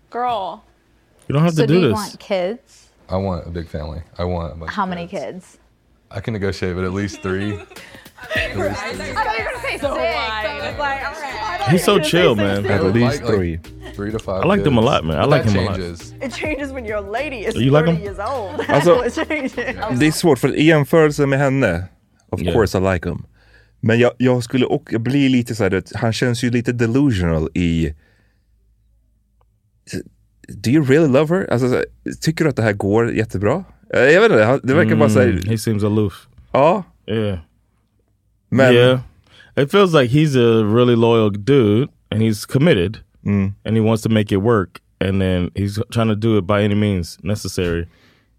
C: Girl.
B: You don't have to do this.
C: kids?
G: I want a big family. I want. A bunch of kids? I can negotiate, but at least three.
C: I thought you were gonna say so
B: He's so chill, man.
A: At
G: would
A: least
G: like, like,
A: three.
G: three to five.
B: I like them a
G: kids.
B: lot, man. I
G: But
B: like
G: that
B: him a lot.
G: changes.
H: It changes when you're a lady. It's
B: You like
H: 30
B: him?
H: years old.
A: Alltså,
H: It changes.
A: Det är svårt, för i jämförelse med henne, of
B: Yeah.
A: course I like him. Men jag, jag skulle också, jag blir lite så här, du vet, han känns ju lite delusional i... Do you really love her? Alltså, så här, tycker du att det här går jättebra? Eh, Jag vet inte, han- det verkar bara säga
B: Mm, he seems aloof.
A: ja,
B: Yeah.
A: men...
B: yeah. It feels like he's a really loyal dude. and he's committed
A: Mm.
B: and he wants to make it work and then he's trying to do it by any means necessary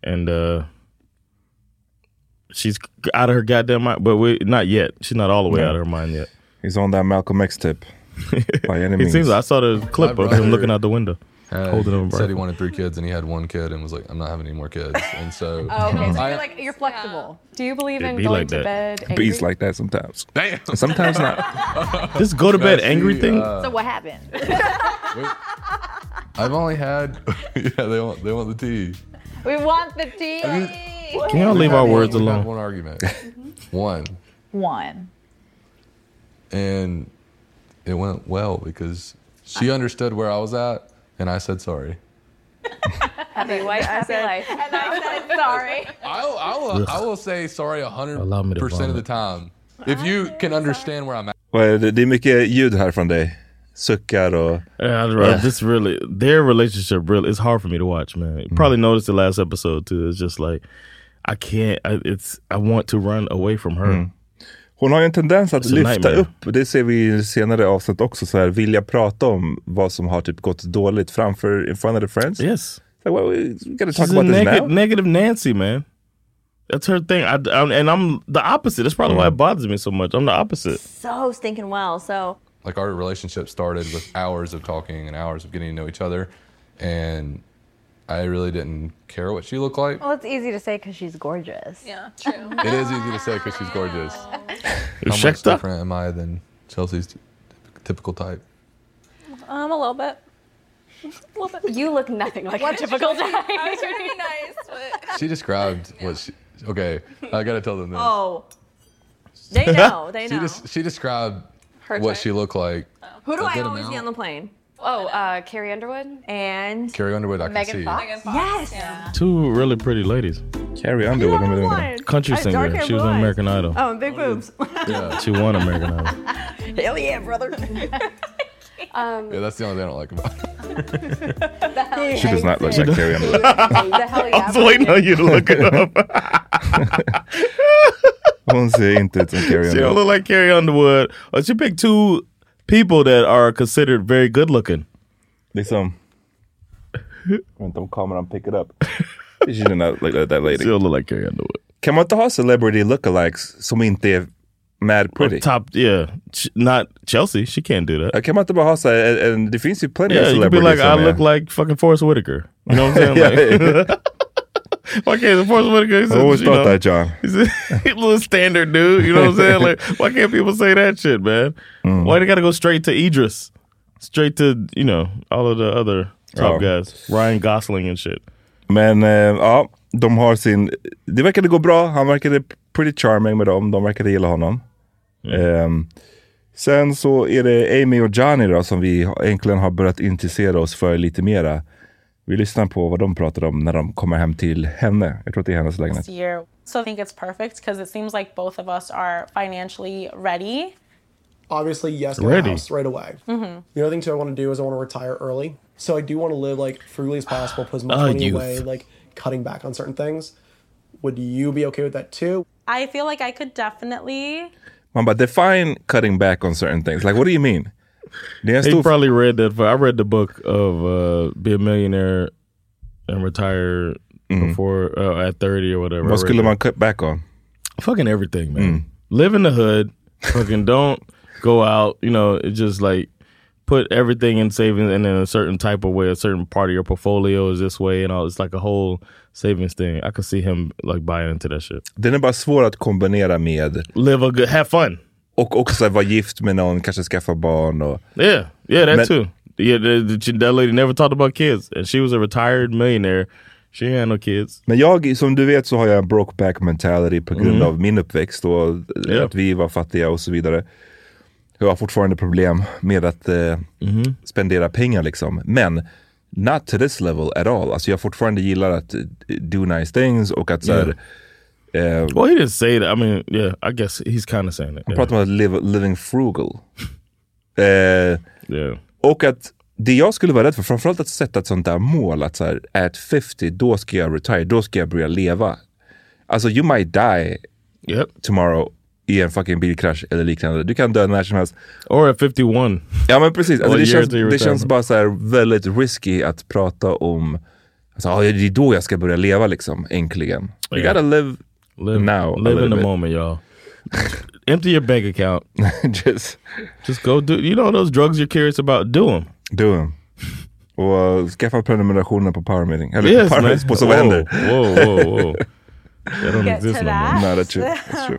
B: and uh she's out of her goddamn mind but we not yet she's not all the way
A: No.
B: out of her mind yet
A: he's on that malcolm x tip by any
B: he
A: means
B: seems i saw the clip of him looking out the window
G: Uh,
B: holding him
G: he said he wanted three kids and he had one kid and was like, I'm not having any more kids. And so,
I: Oh, okay.
G: I-
I: So you're like you're flexible. Do you believe
G: It
I: in
G: be
I: going
G: like
I: to
G: that.
I: bed?
G: Be-
I: Angry?
A: he's like that sometimes sometimes not just
B: go to bed angry thing?
I: so what happened?
G: uh, I've only had, yeah, they want, they want the tea.
I: we want the tea.
B: Can y'all leave our words
G: We've had
B: alone?
G: One argument, one,
I: One.
G: and it went well because she understood where I was at, and I said sorry.
I: Happy wife, happy life. And I said sorry.
G: I'll, I'll, uh, Oh, I will say sorry
B: Allow me to
G: 100% of the
B: vomit.
G: time if you can understand where I'm at.
A: Vad är det? det är mycket ljud här från dig suckar och
B: Yeah, I don't know. this really their relationship really it's hard for me to watch, man.
A: Mm.
B: You probably noticed the last episode too. It's just like I can't. I, it's I want to run away from her.
A: Mm. Hon har ju en tendens att
B: It's a
A: lyfta
B: nightmare.
A: upp, det ser vi i senare avsnitt också, så här, vilja prata om vad som har typ gått dåligt framför in front of the friends.
B: Yes.
A: Like, well, we gotta talk
B: She's
A: about
B: a
A: this
B: neg-
A: now.
B: negative Nancy, man. That's her thing. I, I'm, and I'm the opposite. That's
A: Mm.
B: probably why it bothers me so much. I'm the opposite.
J: So stinking well. So
G: Like our relationship started with hours of talking and hours of getting to know each other, and I really didn't care what she looked like.
I: Well, it's easy to say because she's gorgeous. Yeah, true.
G: It is easy to say because she's gorgeous. How much
B: checked up?
G: different am I than Chelsea's t- typical type?
J: um, a little bit. A little bit. You look nothing like
I: What
J: a
I: did
J: typical
I: you say?
J: guy.
I: I was trying to be
J: nice, but
G: She described what she. Okay, I gotta tell them this.
J: oh, they know. They
G: She,
J: know.
G: des- she described
J: Her
G: what
J: type. Oh.
G: she looked like.
J: Who do
G: A
J: I
G: good
J: always
G: amount.
J: see on the plane? Oh, uh, Carrie Underwood and
G: Carrie Underwood, I can see.
J: Yes.
B: Two really pretty ladies.
A: Carrie Underwood.
B: Country singer. She was on American Idol.
J: Oh, and big boobs.
G: Yeah.
B: She won American Idol.
J: Hell yeah, brother. um,
G: Yeah, that's the only thing I don't like about her.
A: She does not look like Carrie Underwood.
B: I was waiting on you to look it up.
A: Hon ser inte ut som Carrie
B: She don't
A: Underwood.
B: look like Carrie Underwood. Uh, She picked two people that are considered very good looking.
A: Liksom. Vänta om kameran pick it up. She did not look like that lady.
B: Still look like Carrie Underwood.
A: Kan man inte ha celebrity lookalikes som inte är mad pretty?
B: Top, yeah. Ch- Not Chelsea. She can't do that.
A: Kan man inte bara ha så här, en- en- det finns ju plenty of
B: Yeah, you could be
A: celebrities
B: like,
A: som
B: I
A: är-
B: look like fucking Forrest Whitaker. You know what I'm saying?
A: Yeah,
B: Like, why can't Forrest Whitaker? he's
A: I
B: a-
A: always
B: you
A: thought
B: know,
A: that, John.
B: He's a, he's a little standard dude. You know what I'm saying? Like, why can't people say that shit, man?
A: Mm.
B: Why they gotta go straight to Idris? Straight to you know all of the other top
A: Oh.
B: guys, Ryan Gosling and shit.
A: Men eh, ja, de har sin... Det verkade gå bra. Han verkade pretty charming med dem. De verkade gilla honom.
B: Mm.
A: Ehm, sen så är det Amy och Johnny då som vi har- äntligen har börjat intressera oss för lite mera. Vi lyssnar på vad de pratar om när de kommer hem till henne. Jag tror att det är hennes lägenhet.
K: this year. So I think it's perfect because it seems like both of us are financially ready.
L: obviously yes to
K: Ready.
L: the house right away.
K: Mm-hmm.
L: The other thing too I want to do is I want to retire early. So I do want to live like frugally as possible, put as much
M: Ah,
L: money
M: youth.
L: away, like cutting back on certain things. Would you be okay with that too?
K: I feel like I could definitely.
A: Man bara, define cutting back on certain things. Like what do you mean? Det är en
B: He
A: stor...
B: probably read that. For, I read the book of uh, be a millionaire and retire
A: Mm-hmm.
B: before uh, at thirty or whatever.
A: Vad
B: I read
A: skulle
B: that.
A: man cut back on?
B: fucking everything,
A: Mm.
B: man. Live in the hood, fucking don't go out. You know, it's just like put everything in savings and in a certain type of way, a certain part of your portfolio is this way and all. It's like a whole savings thing. I could see him like buying into that shit.
A: Den är bara svår att kombinera med...
B: Live a good, have fun.
A: Och också så här, vara gift med någon, kanske skaffa barn och...
B: Yeah, yeah, that
A: Men-
B: too. Yeah, that, that- that lady never talked about kids, and she was a retired millionaire. She ain't had no kids.
A: Men jag, som du vet så har jag en brokeback mentality på grund
B: Mm.
A: av min uppväxt och eh,
B: Ja.
A: att vi var fattiga och så vidare. Jag har fortfarande problem med att eh,
B: Mm-hmm.
A: spendera pengar liksom. Men not to this level at all. Alltså jag fortfarande gillar att eh, do nice things och att så här, eh,
B: Well, he didn't say that. I mean, yeah, I guess he's kind of saying it.
A: Han
B: yeah.
A: pratar om att live, living frugal. Eh, Och att det jag skulle vara rädd för, framförallt att sätta ett sånt där mål att så här, at 50, då ska jag retire, då ska jag börja leva. Alltså you might die tomorrow i en fucking bilkrasch eller liknande. Du kan dö när som helst.
B: Or at 51.
A: Ja men precis. Alltså,
B: Or
A: det,
B: year
A: känns,
B: to your
A: det känns
B: retirement.
A: bara så här väldigt risky att prata om, alltså, "Ah, det är då jag ska börja leva liksom, äntligen. You
B: Yeah.
A: gotta live, now. a
B: Live
A: little
B: in the
A: bit.
B: moment, y'all. Empty your bank account.
A: just,
B: just go do. You know those drugs you're curious about? Do them.
A: Do them. Och uh, skaffa prenumerationer på Power Meeting. Eller
B: Yes,
A: på Power
B: man.
A: Meeting, på Så
B: Whoa,
A: Vad Händer.
B: whoa, whoa, whoa. That don't Get to exist no more. that.
A: No, that's true. That's true.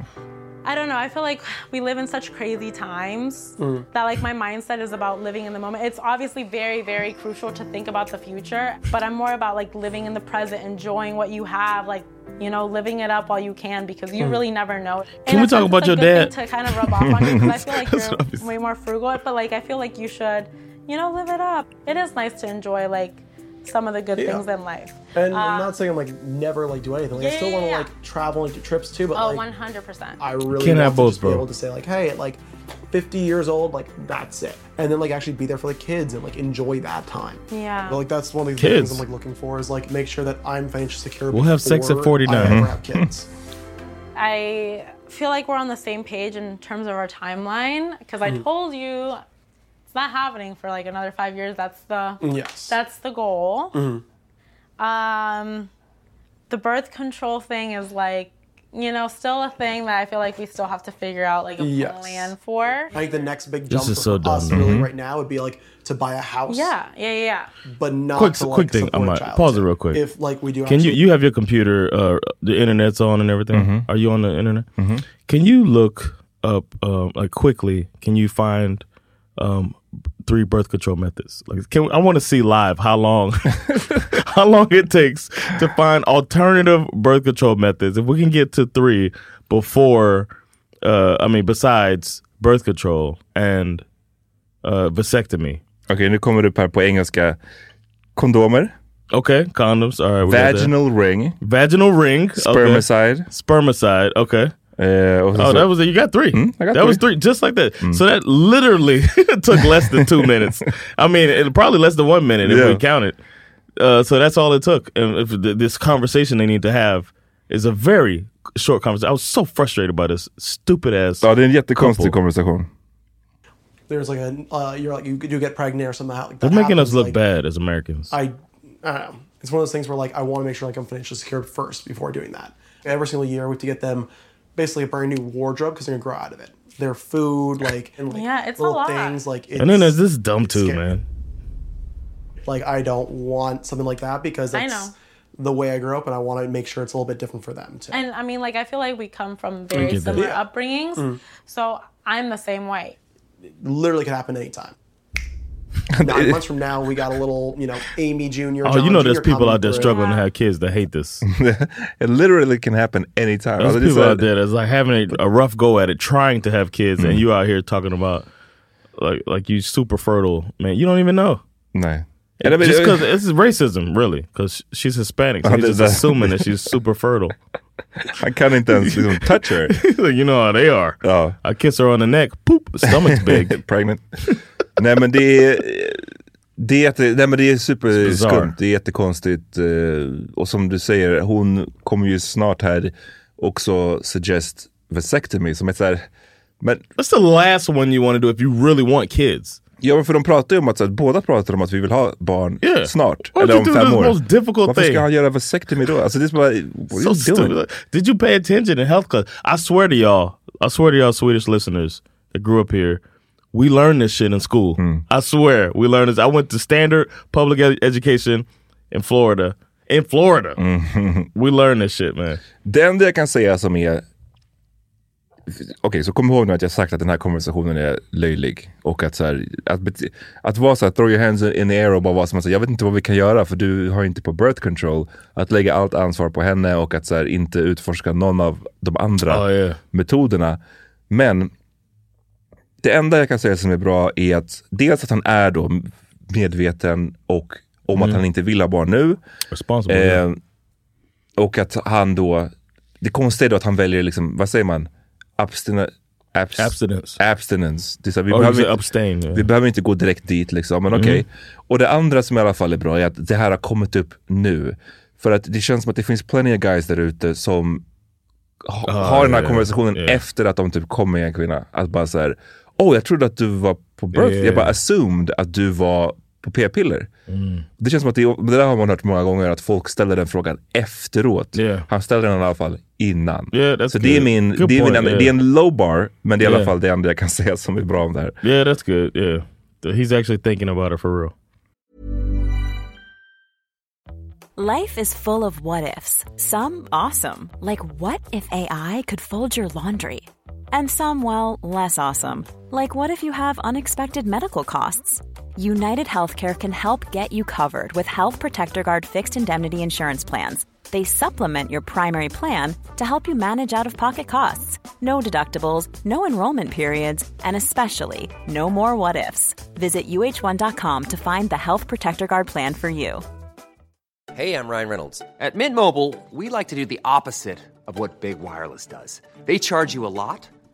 K: I don't know. I feel like we live in such crazy times
A: Mm.
K: that like my mindset is about living in the moment. It's obviously very, very crucial to think about the future, but I'm more about like living in the present, enjoying what you have, like you know, living it up while you can because you
B: Mm.
K: really never know.
B: Can
K: In
B: we
K: a
B: talk
K: sense,
B: about
K: it's a
B: your
K: good
B: dad?
K: thing to kind of rub off on you? 'cause I feel like
B: That's what I was-
K: you're way more frugal, but like I feel like you should, you know, live it up. It is nice to enjoy like some of the good
L: Yeah.
K: things in life.
L: And
K: Uh,
L: I'm not saying I'm like never like do anything. Like,
K: yeah,
L: I still
K: yeah,
L: want to
K: yeah.
L: like travel and do trips too. But
K: oh,
L: like
K: 100%.
L: I really
B: Can't
L: want
B: have
L: to
B: both,
L: just be
B: bro.
L: able to say like, hey, at like 50 years old, like that's it, and then like actually be there for the kids and like enjoy that time.
K: Yeah.
L: But, like that's one of the
B: Kids.
L: things I'm like looking for is like make sure that I'm financially secure.
B: We'll have sex at
L: before I
B: 49.
E: Mm-hmm.
L: ever have kids.
K: I feel like we're on the same page in terms of our timeline because I
L: Mhm.
K: told you it's not happening for like another five years. That's the
L: Yes.
K: that's the goal.
L: Mhm.
N: Mm-hmm.
K: Um, the birth control thing is like you know still a thing that I feel like we still have to figure out like a
L: Yes.
K: plan for.
L: I think the next big
B: This
L: jump
B: is so
L: for us
B: dumb.
L: really
B: Mhm.
L: right now would be like to buy a house.
K: Yeah, yeah, yeah, yeah.
L: But not
B: quick,
L: to, like,
B: quick thing.
L: support
B: I'm
L: a
B: like,
L: child.
B: pause it real quick.
L: If like we do,
B: Can you
L: actually,
B: you have your computer? Uh, the internet's on and everything.
L: Mhm.
B: Are you on the internet? Can you look up um, like quickly? Can you find um, three birth control methods? Like, can I want to see live how long how long it takes to find alternative birth control methods? If we can get to three before, uh, I mean, besides birth control and uh, vasectomy.
A: Okej, nu kommer du upp här på engelska. Kondomer.
B: Okay, condoms. All right, we got that.
A: Vaginal ring.
B: Vaginal ring. okay.
A: Spermicide. Eh,
B: Spermicide. Okay.
A: så- Mm,
B: oh, that was it. You got three. that was three, just like that. So that literally took less than two minutes. I mean, it, probably less than one minute if
A: Yeah.
B: we count it. Uh, so that's all it took. And if th- this conversation they need to have is a very short conversation. I was so frustrated by this stupid ass.
A: Ja, det är en jättekonstig
B: couple.
A: konversation.
L: there's like a uh, you're like you do get pregnant or something. Like,
B: They're
L: that
B: making us
L: happens,
B: look
L: like,
B: bad as Americans.
L: I, I don't know. It's one of those things where like I want to make sure like I'm financially secure first before doing that. Every single year we have to get them basically a brand new wardrobe because they're gonna grow out of it. Their food, like and like
K: Yeah, it's a
L: little
K: lot.
L: things, like it's,
B: and then there's this dumb too, man.
L: like I don't want something like that because
K: I
L: that's
K: know.
L: the way I grew up, and I want to make sure it's a little bit different for them too.
K: And I mean, like I feel like we come from
L: I
K: very
L: get that.
K: similar
L: Yeah.
K: upbringings,
L: Mm.
K: so I'm the same way.
L: Literally, could happen anytime. Nine months from now, we got a little, you know, Amy Junior.
B: Oh, you know, there's people out there struggling to have kids that hate this.
A: it literally can happen anytime.
B: There's
A: Alltså, det är så
B: people
A: här-
B: out there that's like having a, a rough go at it, trying to have kids,
A: Mm-hmm.
B: and you out here talking about like like you super fertile, man. You don't even know.
A: Nej. And
B: And
A: I mean-
B: just because this is racism, really, because she's Hispanic, so
A: Ja,
B: he's
A: det
B: just
A: där.
B: assuming that she's super fertile.
A: I can't even liksom, touch her. Oh.
B: like, you know how they are. I kiss her on the neck, poop, stomach's big.
A: Pregnant. Nej men det
B: er,
A: är, det är, jätte, nej, men det är superskumt,
B: bizarre.
A: det är jättekonstigt. eh, Och som du säger, hon kommer ju snart här också suggest vasectomy som ett så här, men
B: That's the last one you want to do if you really want kids.
A: Ja men för de pratar ju om att, så att båda pratar om att vi vill ha barn
B: Yeah.
A: snart.
B: Why
A: eller
B: don't
A: om
B: you do
A: fem
B: the
A: år.
B: most difficult
A: Varför
B: thing?
A: ska han göra vasectomy då? Alltså det är bara, what are
B: so
A: you doing?
B: stupid. Did you pay attention in health class? I swear to y'all, I swear to y'all Swedish listeners that grew up here, we learned this shit in school.
A: Hmm.
B: I swear, we learned this. I went to standard public ed- education in Florida. In Florida.
A: Hmm. Mm.
B: We learned this shit man.
A: Det enda jag kan säga som är... Okej, så kom ihåg nu att jag sagt att den här konversationen är löjlig. Och att, så här, att, bete- att vara så här, throw your hands in the air och bara vara som att så här, jag vet inte vad vi kan göra för du har inte på birth control. Att lägga allt ansvar på henne och att så här, inte utforska någon av de andra metoderna. Men det enda jag kan säga som är bra är att dels att han är då medveten och om
B: Mm.
A: att han inte vill ha barn nu.
B: Responsible,
A: Eh, och att han då, det konstiga är då att han väljer liksom, vad säger man? Abstina, abs,
B: abstinence.
A: Abstinence. Det är så här, vi,
B: Or
A: behöver
B: you say
A: inte,
B: abstain, yeah.
A: vi behöver inte gå direkt dit liksom, men okej.
B: Mm.
A: Och det andra som i alla fall är bra är att det här har kommit upp nu. För att det känns som att det finns plenty of guys där ute som ha,
B: Ah,
A: ha den här
B: ja,
A: konversationen
B: ja.
A: efter att de typ kom med en kvinna. Att bara så här, oh jag trodde att du var på birth.
B: Ja.
A: Jag bara assumed att du var på p-piller. Det känns som att det, det där har man hört många gånger, att folk ställer den frågan efteråt. Han ställer den i alla fall innan. så det är,
B: good.
A: min,
B: Good
A: det, är min,
B: point,
A: enda-
B: yeah.
A: det är en low bar, men det är i alla
B: Yeah.
A: fall det enda jag kan säga som är bra om det här.
B: Yeah, that's good. Yeah. He's actually thinking about it for real.
O: Life is full of what ifs. Some awesome, like what if AI could fold your laundry? And some, well, less awesome, like what if you have unexpected medical costs? United Healthcare can help get you covered with Health Protector Guard fixed indemnity insurance plans. They supplement your primary plan to help you manage out of pocket costs. No deductibles, no enrollment periods, and especially no more what ifs. Visit uh1.com to find the Health Protector Guard plan for you.
M: Hey, I'm Ryan Reynolds. At Mint Mobile, we like to do the opposite of what Big Wireless does. They charge you a lot,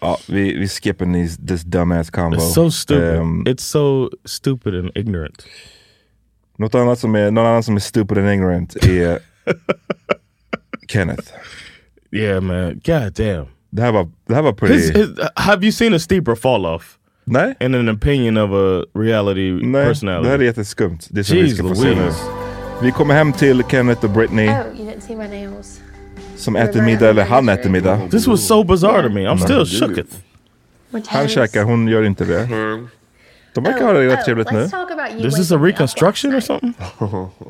A: Ja, vi, vi skippar these, this dumbass combo.
B: It's so stupid.
A: Ehm,
B: it's so stupid and ignorant.
A: något, annat som är, någon annan som är stupid and ignorant är Kenneth.
B: Yeah man, god damn.
A: Det här var, det här var pretty...
B: His, his, have you seen a steeper fall off?
A: Nej.
B: In an opinion of a reality personality.
A: det här är jätteskumt. Det är som vi
B: Jeez
A: ska få se nu.
B: Louise.
A: Vi kommer hem till Kenneth och Britney
I: Oh, you didn't see my nails.
A: som äter middag, eller han äter middag. Mm.
B: This was so bizarre to me. I'm still shooketh.
I: What time
A: Han
I: is-
A: käkar, hon gör inte det. De verkar ha det rätt trevligt nu.
I: Mm. Oh, let's talk about you
B: Is this a reconstruction or something?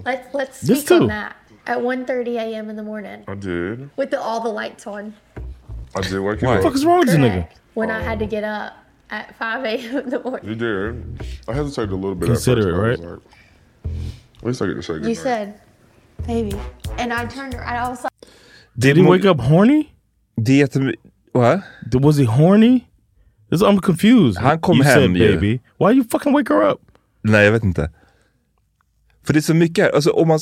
I: Let, let's
B: This
I: speak on
B: too.
I: that at 1.30 a.m. in the morning
E: I did.
I: with the, all the lights on
E: I did wake
B: What
E: up.
B: the fuck is wrong with this nigga?
I: when I had to get up at 5 a.m. in the morning.
E: You did. I hesitated a little bit.
B: Consider
E: at
B: it,
E: first, but I was Like, at least I get to say
I: You
E: goodnight.
I: said, baby. And I turned around. I was like,
B: Did he wake up horny?
A: Det är jättemy- What?
B: Was he horny? This, I'm confused.
A: Han kom
B: you
A: hem
B: said
A: ju.
B: baby. Why you fucking wake her up?
A: Nej, jag vet inte. För det är så mycket här. Alltså, om man,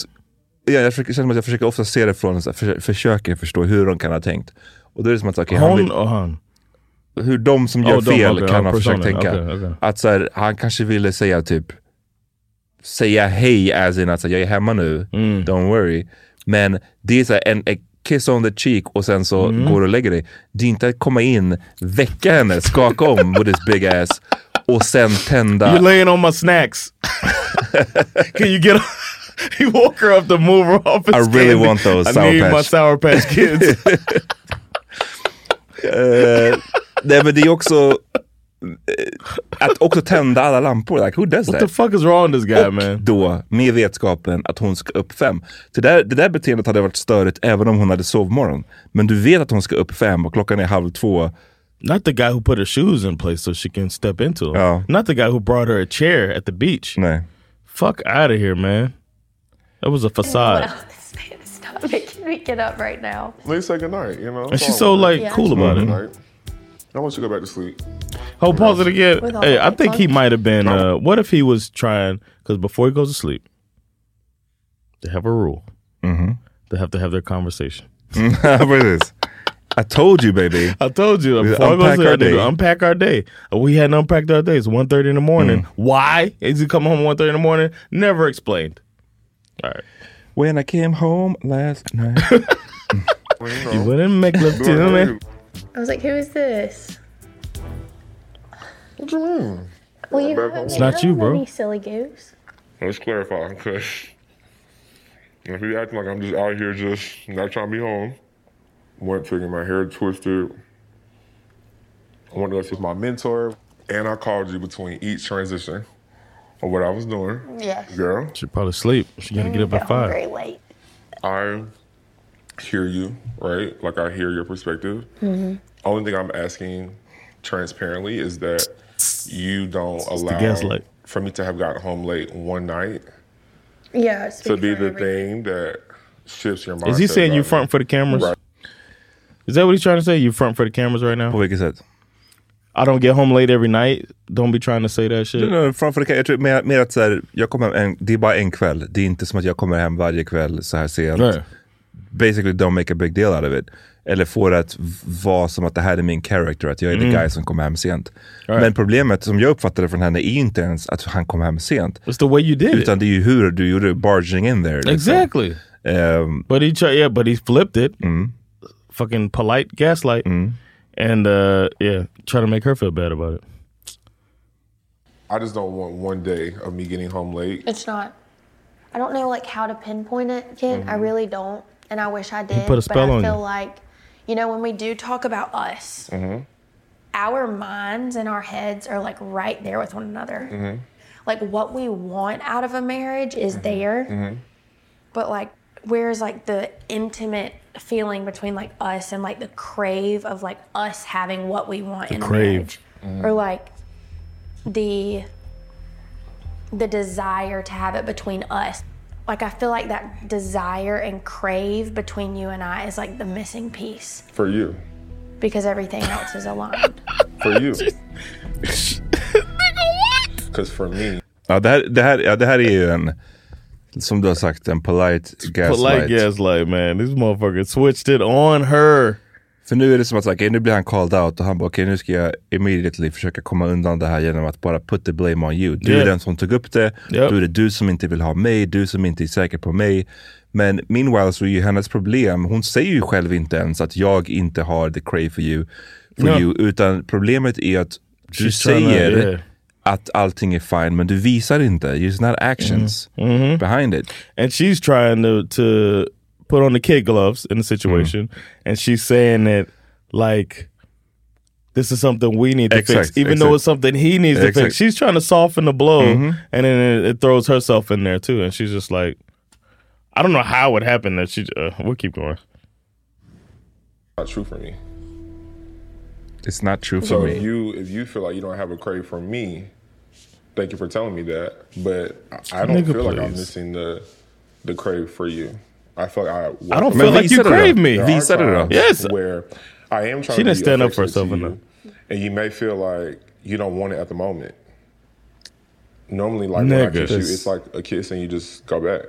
A: ja, jag försöker, känner som att jag försöker ofta se det från, så här, för, försöker förstå hur de kan ha tänkt. Och då är det som att, okej, han
B: Hon
A: vill,
B: och han?
A: hur de som gör
B: Oh, de,
A: fel
B: okej,
A: kan
B: ja,
A: ha försökt
B: personen,
A: tänka.
B: okej, okej.
A: Att så här, han kanske ville säga typ, säga hej as in att så här, jag är hemma nu,
B: Mm.
A: don't worry. Men det är så här, en, en kiss on the cheek och sen så
B: Mm.
A: går du och lägger dig. Det är inte att komma in, väcka henne, skaka om with his big ass och sen tända.
B: You're laying on my snacks. Can you get? he woke her up to move her off. His
A: I really
B: candy.
A: want those
B: I
A: Sour
B: need my
A: Patch.
B: sour patch kids.
A: Eh, nej men det är också eh, att också tända alla lampor. Like, who does
B: What
A: that?
B: the fuck is wrong with this guy
A: Och
B: man?
A: då med vetskapen att hon ska upp fem. Det där, det där beteendet hade varit störigt även om hon hade sovmorgon. Men du vet att hon ska upp fem och klockan är halv två.
B: Not the guy who put her shoes in place so she can step into them. Not the guy who brought her a chair at the beach. Fuck out of here, man. That was a facade.
I: stop making me get up right now.
E: At least say goodnight, you know.
B: And she's so like
I: Yeah.
B: cool about
A: Mm-hmm.
B: it.
E: Goodnight. I want you to go back to sleep.
B: Oh, pause it again.
E: With all
B: Hey,
E: the
B: I think he
E: lights on.
B: might have been. Uh, what if he was trying? Because before he goes to sleep, they have a rule.
A: Mhm.
B: They have to have their conversation.
A: Precis. I told you baby.
B: I told you.
A: We
B: Before I go to
A: unpack
B: sleep,
A: our
B: I need to
A: day.
B: unpack our day. We hadn't unpacked our day. It's 1.30 in the morning. Why is he coming home 1.30 in the morning? Never explained. All right.
A: When I came home last night.
B: You wouldn't make love to me.
I: I was like, who is this?
E: What you mean?
I: Well, you
E: Back
I: haven't
E: home. It's not you,
I: known
E: bro.
I: me, silly goose.
E: Let's clarify, because if you acting like I'm just out here just not trying to be home, went to get my hair twisted. I wanted to go see my mentor, and I called you between each transition of what I was doing.
N: Yeah.
E: Girl.
B: She probably sleep. She gotta get up at five.
N: Very late.
E: I hear you, right? Like I hear your perspective.
N: Mhm.
E: Only thing I'm asking transparently is that you don't
B: the
E: allow
B: gaslight.
E: for me to have gotten home late one night
N: Yeah.
E: to be the thing that shifts your mindset.
B: Is he saying you
E: about
B: front for the cameras?
E: Right.
B: Is that what he's trying to say? You front for the cameras right now? What said. I don't get home late every night. Don't be trying to say that shit.
A: Nej, nej, framför det, jag tror mer, mer att så här, jag kommer hem en, det är bara en kväll. Det är inte som att jag kommer hem varje kväll så här sent.
B: Nej.
A: Basically don't make a big deal out of it. Eller få det att v- vara som att det här är min character, att jag är
B: Mm.
A: the guy som kommer hem sent.
B: Right.
A: Men problemet som jag uppfattade från henne är inte ens att han kom hem sent.
B: It's the way you did it.
A: Utan det är ju hur du gjorde barging in there. liksom.
B: Exactly.
A: Um,
B: but he tried, yeah, but he flipped it. Fucking polite gaslight, and uh, yeah, try to make her feel bad about it.
E: I just don't want one day of me getting home late.
F: It's not.
N: I don't know like how to pinpoint it, Ken. I
E: Mhm.
N: really don't, and I wish I did.
E: put a spell
N: but I
E: on
N: feel
E: you.
N: like, you know, when we do talk about us,
E: Mm-hmm.
N: our minds and our heads are like right there with one another.
E: Mm-hmm.
N: Like what we want out of a marriage is there,
E: Mm-hmm.
N: but like where's like the intimate feeling between like us and like the crave of like us having what we want in a marriage.
B: Crave.
E: Mm-hmm.
N: or like the the desire to have it between us like i feel like that desire and crave between you and i is like the missing piece
E: For you.
N: because everything else is aligned
E: For you. Because for me,
A: Ja, det här, det, här, ja, det här är ju en, som du har sagt, en polite gaslight.
B: Polite gaslight man, this motherfucker switched it on her.
A: För nu är det som att så här, okej, nu blir han called out och han bara okej nu ska jag immediately försöka komma undan det här genom att bara put the blame on you. Du
B: Yeah.
A: är den som tog upp det,
B: Yep.
A: du är det du som inte vill ha mig, du som inte är säker på mig. Men meanwhile så är ju hennes problem, hon säger ju själv inte ens att jag inte har the crave for you, for
B: Ja.
A: you utan problemet är att du
B: She's trying to-
A: säger
B: yeah.
A: att allting är fine men du visar inte, it's not actions behind it.
B: Mm-hmm. And she's trying to to put on the kid gloves in the situation,
A: Mm-hmm.
B: and she's saying that like this is something we need to fix,
A: Exact,
B: even though
A: exact.
B: it's something he needs to
A: Exact.
B: fix. She's trying to soften the blow,
A: Mhm.
B: and then it, it throws herself in there too, and she's just like, I don't know how it happened that she. Uh, we'll keep going.
E: not true for me.
A: It's not true for
E: so
A: me.
E: if you if you feel like you don't have a crave for me, thank you for telling me that. But I- I don't
B: Nigga,
E: feel like I'm
B: please.
E: missing the the crave for you. I feel like I.
B: I don't feel like you crave me.
E: There are
B: Visa it up.
E: times
B: Yes.
E: Where I am trying.
B: She
E: to
B: didn't
E: be
B: stand up for
E: affectionate
B: herself
E: to
B: enough.
E: you, And you may feel like you don't want it at the moment. Normally, like when I
B: Nigga.
E: kiss you,
B: This-
E: it's like a kiss and you just go back.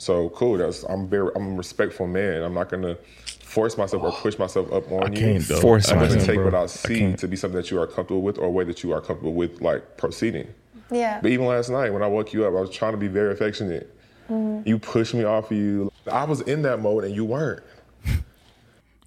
E: So cool. That's I'm very I'm a respectful man. I'm not gonna force myself or push myself up on you.
B: can't, though. Force
E: I'm gonna
B: myself,
E: take
B: bro.
E: what
B: I
E: I see to be something that you are comfortable with or a way that you are comfortable with like proceeding.
N: yeah
E: But even last night when I woke you up, I was trying to be very affectionate. You pushed me off of you. I was in that mode and you weren't.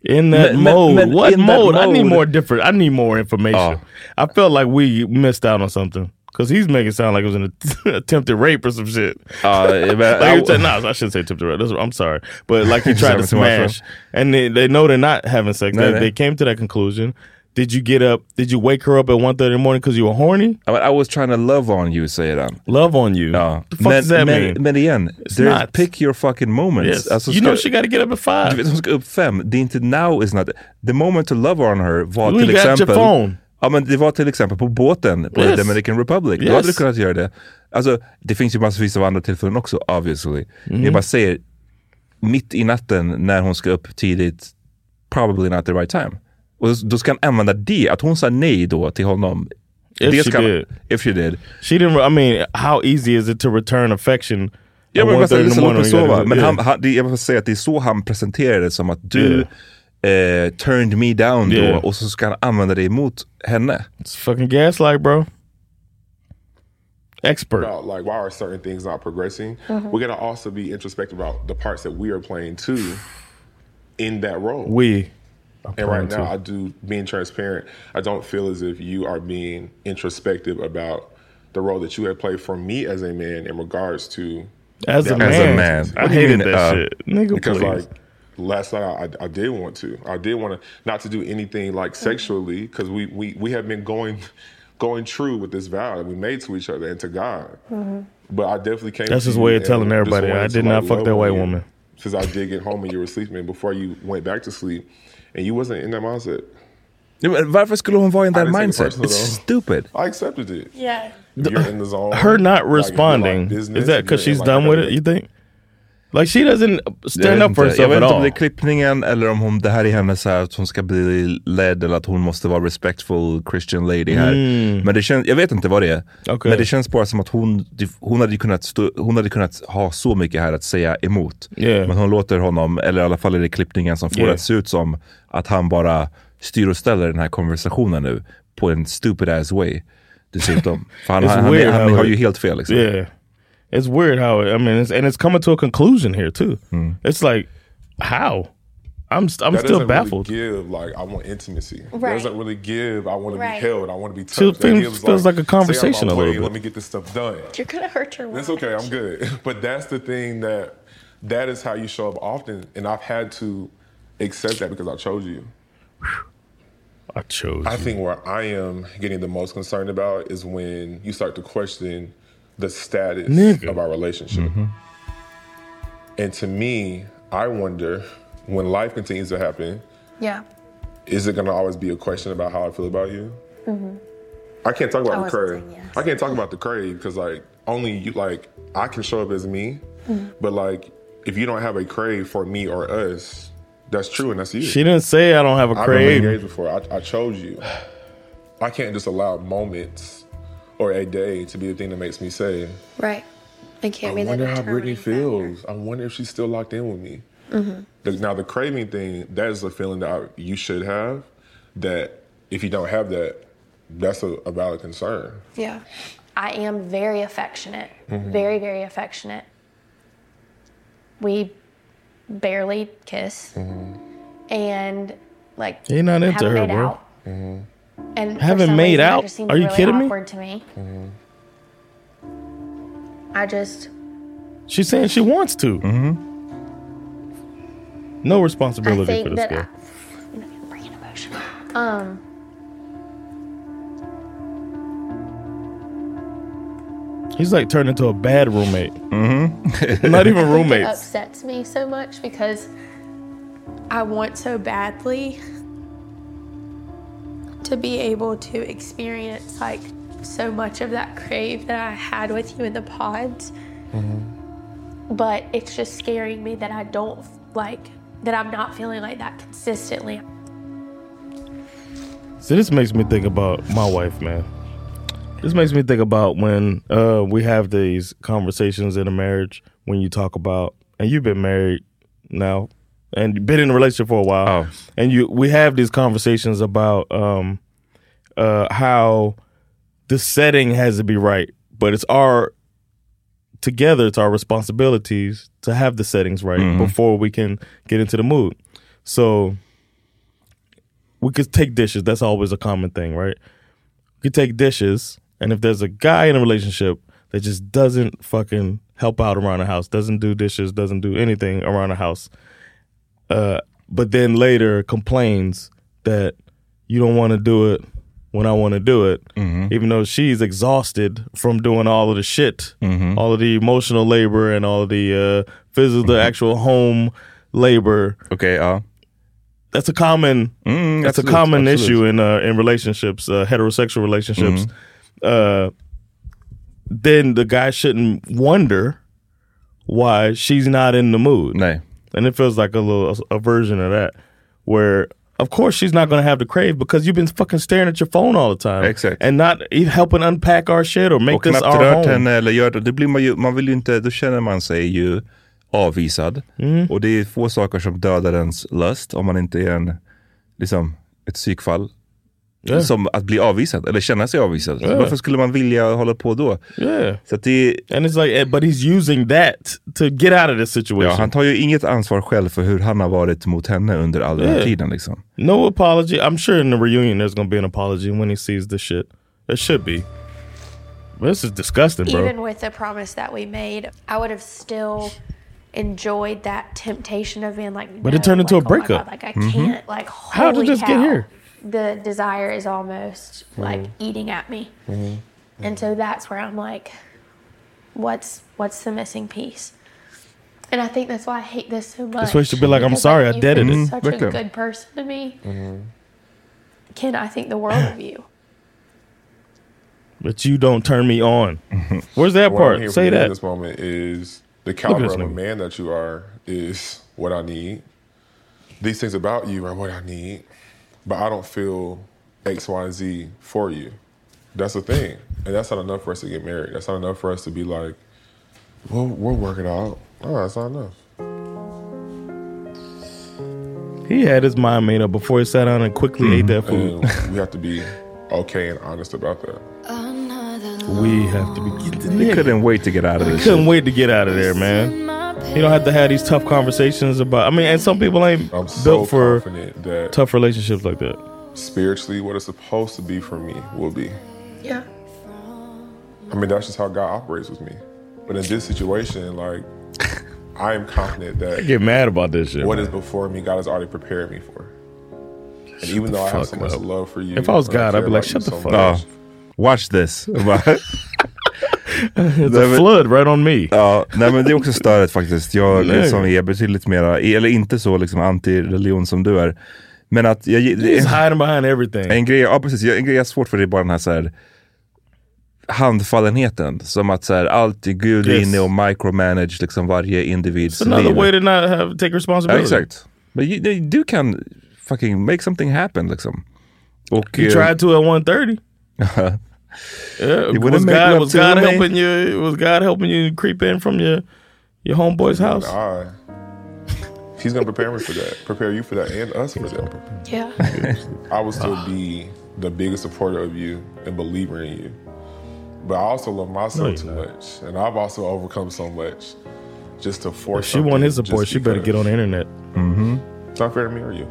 B: In that
E: Men- men-
B: mode,
E: men
B: what
E: in that
B: mode? I need
E: mode-
B: more different. I need more information.
E: Oh.
B: I felt like we missed out on something because he's making it sound like it was an attempted rape or some shit.
A: Uh, man,
B: like
A: I-
B: I, t- nah, I shouldn't say attempted rape. That's- I'm sorry, but like he
A: Just
B: tried to
A: having too much fun.
B: smash, and they, they know they're not having sex.
A: No,
B: they,
A: no.
B: they came to that conclusion. Did you get up? Did you wake her up at 1.30 in the morning because you were horny?
A: I, I was trying to love on you, säger han.
B: Love on you?
A: Ja.
B: The fuck
A: men,
B: does that
A: men,
B: mean?
A: men igen,
B: It's
A: there's-
B: not.
A: pick your fucking moments. Alltså,
B: Yes. You know she gotta get up at five.
A: Du vet, hon ska upp fem. Det är inte now is not... The moment to love on her var
B: You
A: till
B: got your
A: exempel...
B: phone.
A: Ja, men det var till exempel på båten på
B: Yes.
A: Dominican Republic.
B: Yes.
A: Då hade du kunnat göra det. Alltså, det finns ju massvis av andra tillfällen också, obviously.
B: Mm.
A: Jag bara säger, mitt i natten när hon ska upp tidigt, probably not the right time. Och då ska han använda det, att hon sa nej då till honom.
B: If
A: det
B: she
A: ska, han-
B: did.
A: If she did.
B: She didn't. I mean, how easy is it to return affection?
A: Ja,
B: at
A: men
B: 1:30
A: vänta,
B: in the
A: lyssna, låt
B: morning
A: mig
B: when you gotta
A: sova.
B: do-
A: Men
B: Yeah.
A: han, han, det, jag vill säga att det är så han presenterar det, som att du eh, turned me down
B: Yeah.
A: då och så ska han använda det emot henne.
B: It's fucking gaslight bro. Expert.
E: About like why are certain things not progressing?
B: Mhm.
E: We gotta also be introspective about the parts that we are playing too in that role.
B: We.
E: And right
B: Prone
E: now,
B: to.
E: I do being transparent. I don't feel as if you are being introspective about the role that you have played for me as a man in regards to
B: As a
E: that-
B: man. As a man. I What do you hated mean, that uh, shit. Nigga,
E: because
B: please.
E: like last night I, I did want to. I did want to not to do anything
B: Mm.
E: like sexually because we, we we have been going going true with this vow that we made to each other and to God.
N: Mm-hmm.
E: But I definitely came.
B: That's
E: to
B: his
E: you
B: way of
E: and
B: telling
E: just
B: everybody,
E: wanted
B: I
E: to,
B: did
E: like,
B: not fuck
E: love
B: that
E: on
B: white
E: you
B: woman.
E: Since I did get home and you were sleeping and before you went back to sleep, and you wasn't in that mindset.
A: Varför skulle hon vara in that
E: didn't take it
A: mindset?
E: personal,
A: It's
E: though.
A: stupid.
E: I accepted it.
N: Yeah.
E: You're in the zone.
B: Her not
E: Like, you're, like,
B: responding
E: business,
B: is that because
E: you're in,
B: she's
E: like,
B: done with it? You think? Like she doesn't
A: Jag
B: stand
A: vet
B: up for
A: inte. Jag
B: herself
A: vet
B: at
A: inte om det
B: all.
A: är klippningen eller om hon, det här är hennes så här, att hon ska bli led eller att hon måste vara respectful Christian lady här.
B: Mm.
A: Men det känns, jag vet inte vad det är.
B: Okej.
A: Men det känns bara som att hon, hon, hade kunnat stå, hon hade kunnat ha så mycket här att säga emot.
B: Yeah.
A: Men hon låter honom, eller i alla fall är det klippningen som får
B: Yeah.
A: det att se ut som att han bara styr och ställer den här konversationen nu på en stupid ass way. Dessutom. För han,
B: It's
A: han, han,
B: weird
A: han,
B: how
A: har
B: it-
A: ju helt fel liksom.
B: Yeah, it's weird how it, I mean, it's, and it's coming to a conclusion here too. It's like how I'm st- I'm
E: That
B: still
E: doesn't
B: baffled.
E: Really give like I want intimacy. That
B: Right.
E: doesn't really give. I want to
N: Right.
E: be held. I want to be touched.
B: So
E: That
B: things
E: gives,
B: feels like a
E: stay out
B: conversation
E: my
B: a little
E: way,
B: bit.
E: Let me get this stuff done.
N: You're gonna hurt your
E: It's okay. I'm good. But that's the thing that that is how you show up often, and I've had to accept that because I chose you.
B: I chose.
E: I think where I am getting the most concerned about is when you start to question the status
B: Nigga. Mm-hmm.
E: of our relationship. And to me, I wonder when life continues to happen,
N: Yeah.
E: is it going to always be a question about how I feel about you?
N: Mm-hmm.
E: I can't talk about
N: I
E: the
N: wasn't
E: crave. I can't talk about the crave because like only you like I can show up as me,
N: Mhm.
E: but like if you don't have a crave for me or us, that's true and that's you.
B: She didn't say I don't have a
E: I've been
B: crave.
E: engaged before. I, I chose you. I can't just allow moments or a day to be the thing that makes me say,
N: Right. It can't
E: I
N: be
E: wonder
N: that.
E: how Brittany feels. I wonder if she's still locked in with me.
N: Mm-hmm.
E: The- Now the craving thing, that is a feeling that I, you should have. That if you don't have that, that's a, a valid concern.
N: Yeah. I am very affectionate.
B: Mm-hmm.
E: Mhm.
N: Very, very affectionate. We barely kiss.
E: Mm-hmm.
N: And like
B: He not into
N: haven't
B: her,
N: made
B: bro.
N: out.
E: Mm-hmm.
N: And for
B: Haven't
N: some
B: made
N: reason,
B: out?
N: It just seems
B: Are you
N: really
B: kidding me?
N: awkward me? To me. I just
B: She's saying she wants to. No
N: I
B: responsibility
N: think
B: for this
N: that
B: girl.
N: um
B: He's like turned into a bad roommate. Mm-hmm. Not even
N: It
B: roommates.
N: upsets me so much because I want so badly to be able to experience like so much of that crave that I had with you in the pods,
B: Mm-hmm.
N: but it's just scaring me that I don't like that I'm not feeling like that consistently.
B: So this makes me think about my wife, man. This makes me think about when uh, we have these conversations in a marriage when you talk about, and you've been married now, and you've been in a relationship for a while, and you we have these conversations about um, uh, how the setting has to be right, but it's our together it's our responsibilities to have the settings right before we can get into the mood. So we could take dishes. That's always a common thing, right? We could take dishes, and if there's a guy in a relationship that just doesn't fucking help out around the house, doesn't do dishes, doesn't do anything around the house, uh, but then later complains that you don't want to do it when I want to do it, even though she's exhausted from doing all of the shit,
A: Mm-hmm.
B: all of the emotional labor and all of the uh, physical, the actual home labor.
A: Mm-hmm. Okay, uh. Mm-hmm,
B: That's a common. that's
A: absolut,
B: a common
A: absolut.
B: issue in uh, in relationships, uh, heterosexual relationships.
A: Mm-hmm.
B: Uh, then the guy shouldn't wonder why she's not in the mood. And it feels like a little a version of that where of course she's not going to have the crave because you've been fucking staring at your phone all the time. Exactly. And not e- helping unpack our shit or make
A: och
B: this
A: knappt
B: our
A: rört
B: home.
A: henne eller gör det. det blir man, ju, man vill ju inte, då känner man sig ju avvisad.
B: Mm.
A: Och det är få saker som dödar ens lust om man inte är en, liksom, ett psykfall.
B: Ja.
A: Som att bli avvisad eller känna sig avvisad.
B: Ja.
A: Varför skulle man vilja hålla på då?
B: Yeah.
A: Så att det,
B: And it's like eh, but he's using that to get out of this situation.
A: ja, han tar ju inget ansvar själv för hur han har varit mot henne under all den här
B: Ja.
A: tiden. Liksom.
B: No apology. I'm sure in the reunion there's gonna be an apology when he sees this shit. There should be. This is disgusting, bro.
N: Even with the promise that we made, I would have still enjoyed that temptation of being like,
B: But it
N: "No,
B: turned into
N: like,
B: a
N: oh my
B: breakup.
N: God, like I
B: Mhm.
N: can't. Like
B: How did
N: holy
B: this get
N: cow,
B: here? Mm-hmm.
N: The desire is almost like eating at me, and so that's where I'm like, what's what's the missing piece? And I think that's why I hate this so much.
B: why you should be like, "I'm
N: because,
B: sorry, I
N: you've
B: did it."
N: been
B: Mhm.
N: Such
B: Look
N: a
B: at-
N: good person to me,
B: Mm-hmm.
N: Ken. I think the world of you.
B: But you don't turn me on. Where's
E: What
B: that
E: I'm hearing
B: part?
E: from
B: Say
E: you
B: that.
E: In this moment is the
B: at
E: caliber
B: this
E: of a
B: nigga.
E: man that you are is what I need. These things about you are what I need, but I don't feel X, Y, and Z for you. That's the thing, and that's not enough for us to get married. That's not enough for us to be like, we'll we'll work it out. Oh, that's not enough.
B: He had his mind made up before he sat down and quickly ate
A: Mm-hmm.
B: that food.
E: And we have to be okay and honest about that.
B: we have to be.
A: They couldn't wait to get out of
B: They
A: this.
B: couldn't wait to get out of there, man. You don't have to have these tough conversations about. I mean, and some people ain't
E: I'm so
B: built for
E: confident that-
B: tough relationships like that.
E: Spiritually, what it's supposed to be for me will be.
N: Yeah.
E: I mean, that's just how God operates with me. But in this situation, like, I am confident
B: I
E: that
B: get mad about this shit.
E: what
B: man.
E: is before me, God has already prepared me for. And even
B: the
E: though I have so
B: fuck
E: much
B: up.
E: love for you,
B: If I was
E: and
B: God,
E: care
B: I'd be like,
E: about you
B: "Shut the
E: so
B: fuck
E: much,
B: up."
A: Watch this.
B: It's a flood right on me.
A: Ja, nej men det är också störigt faktiskt. Jag
B: Nej.
A: som är betydligt mera, eller inte så liksom anti-religion som du är. Men att jag...
B: He's hiding behind everything.
A: En grej, ja precis, en grej jag har svårt för det är bara den här, så här handfallenheten. Som att så här, allt är Gud är
B: Yes.
A: inne och micromanage liksom varje individs
B: It's another
A: liv.
B: way to not have take
A: Ja,
B: responsibility.
A: exakt. Men you- du kan fucking make something happen liksom. Och,
B: You
A: eh,
B: tried to at 130.
A: It wouldn't
B: was
A: make
B: God,
A: love
B: was
A: to
B: God
A: me.
B: helping you? Was God helping you creep in from your your homeboy's house?
E: I, he's gonna prepare me for that, prepare you for that, and us for that.
N: Yeah.
E: I will
B: Uh.
E: still be the biggest supporter of you and believer in you. But I also love myself
B: you're
E: too much, and I've also overcome so much just to
B: If
E: force.
B: she want his
E: something
B: support,
E: just
B: she better get on the internet.
A: Mm-hmm.
E: It's not fair to me or you.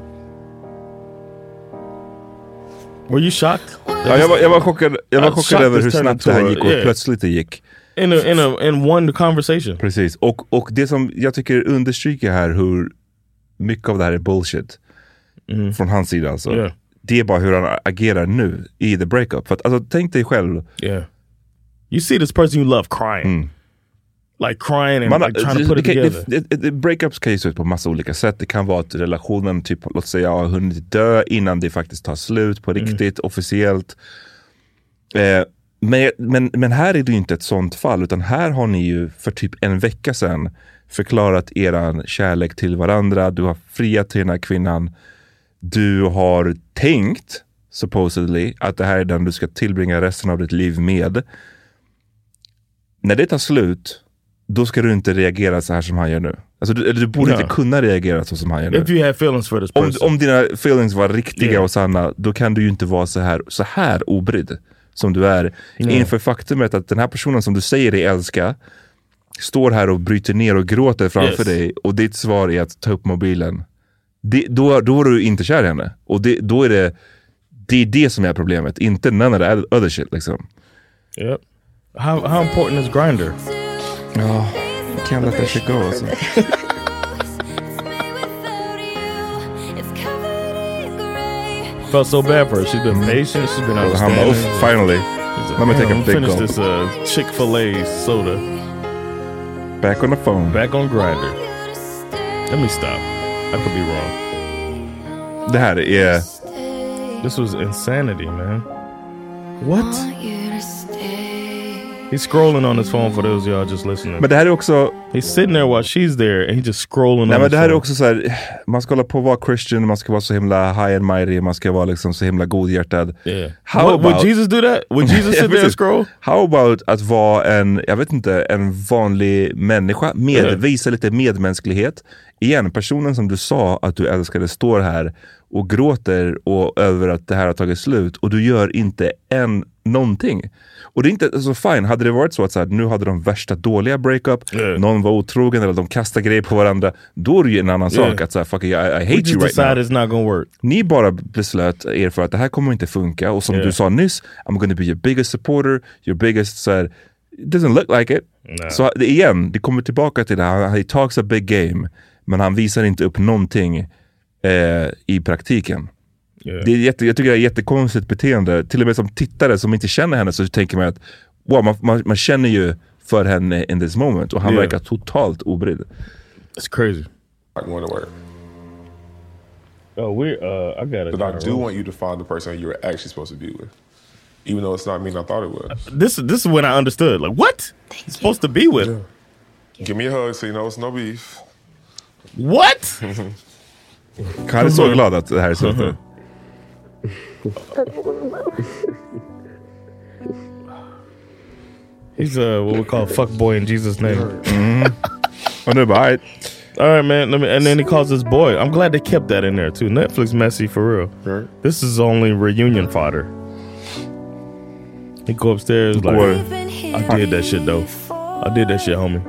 B: Were you shocked?
A: Ja, jag, var, jag var chockad, jag var
B: Uh, shocked
A: chockad över
B: this
A: hur
B: turned
A: snabbt det
B: into
A: här
B: a-
A: gick och hur
B: yeah.
A: plötsligt det gick.
B: In a, in a, in one conversation.
A: Precis, och, och det som jag tycker understryker här hur mycket av det här är bullshit. Från hans sida alltså.
B: Mm. Yeah.
A: Det är bara hur han agerar nu i the breakup. För att, alltså, tänk dig själv. Mm.
B: Yeah. You see this person you love crying. Like crying and
A: Man,
B: like trying
A: det-
B: to put it
A: det kan-
B: together.
A: det- det- det- Breakups kan ju se ut på massa olika sätt. Det kan vara att relationen, typ, låt säga, har hunnit dö innan det faktiskt tar slut
B: Mm.
A: på riktigt, officiellt. Eh, men, men, men här är det ju inte ett sånt fall, utan här har ni ju för typ en vecka sedan förklarat eran kärlek till varandra. Du har friat till den här kvinnan. Du har tänkt, supposedly, att det här är den du ska tillbringa resten av ditt liv med när det tar slut, då ska du inte reagera så här som han gör nu. Alltså, du, eller du borde
B: Ja.
A: inte kunna reagera så som han gör nu.
B: If you have feelings for this
A: Om,
B: person.
A: om dina feelings var riktiga
B: Yeah.
A: och sanna, då kan du ju inte vara så här, så här obrydd som du är.
B: Yeah.
A: Inför faktumet att den här personen som du säger dig älska, står här och bryter ner och gråter framför
B: Yes.
A: dig och ditt svar är att ta upp mobilen. Det, då, då är du inte kär i henne. Och det, då är det, det är det som är problemet, inte none of the other shit liksom.
B: Yep. How, how important is grinder?
A: Ja, can't let that shit go alltså.
B: Felt so bad for her. She's been patient. She's been
A: Well, how about-
B: understanding.
A: oh, finally.
B: She's
A: Let me take a
B: "Damn,
A: big
B: finish
A: gulp."
B: this uh, Chick Fil A soda.
A: Back on the phone.
B: Back on grinder. Let me stop. I could be wrong.
A: Det här är...
B: This was insanity, man. What? He's scrolling on his phone for those of y'all just listening.
A: Men det här är också...
B: He's sitting there while she's there and he's just scrolling
A: Nej men
B: on his
A: det här är
B: phone.
A: också så här, man ska hålla på att vara Christian, man ska vara så himla high and mighty, man ska vara liksom så himla godhjärtad.
B: Yeah. Would- would Jesus do that? Would Jesus sit there and
A: precis.
B: scroll?
A: How about att vara en, jag vet inte, en vanlig människa, med,
B: Yeah.
A: visa lite medmänsklighet. Igen, personen som du sa att du älskade står här och gråter och, över att det här har tagit slut och du gör inte en någonting. Och det är inte så alltså fine, hade det varit så att så här, nu hade de värsta dåliga breakup, någon var otrogen eller de kastar grejer på varandra, då är det ju en annan
B: Yeah.
A: sak att så här, fuck, I, I hate
B: We just
A: you right now.
B: decided it's not gonna work.
A: Ni bara beslöt er för att det här kommer inte funka och som
B: Yeah.
A: du sa nyss, I'm gonna be your biggest supporter, your biggest så här, It doesn't look like it.
B: Nej.
A: Så det- igen, det kommer tillbaka till det. Han, he talks a big game, men han visar inte upp någonting eh, i praktiken.
B: Yeah.
A: Det är jätte, jag tycker det är ett jättekonstigt beteende. Till och med som tittare som inte känner henne så tänker man att wow, man, man, man känner ju för henne in this moment och han
B: Yeah.
A: verkar totalt obrydd.
B: It's crazy.
E: I'm going to work.
B: Oh, we're, uh, I got it.
E: But I do want you to find the person you were actually supposed to be with, even though it's not me and I thought it was.
B: Uh, This this is when I understood. Like what? He's supposed to be with.
E: Give me a hug so you know it's no beef.
B: What?
A: Han är så glad att det här är så.
B: He's uh, what we call a fuckboy in Jesus' name.
A: Mm-hmm. I know, but all right.
B: All right, man. Let me, and then he calls his boy. I'm glad they kept that in there, too. Netflix messy for real. This is only reunion fodder. He go upstairs like,
P: Boy.
B: I did that shit, though. I did that shit, homie.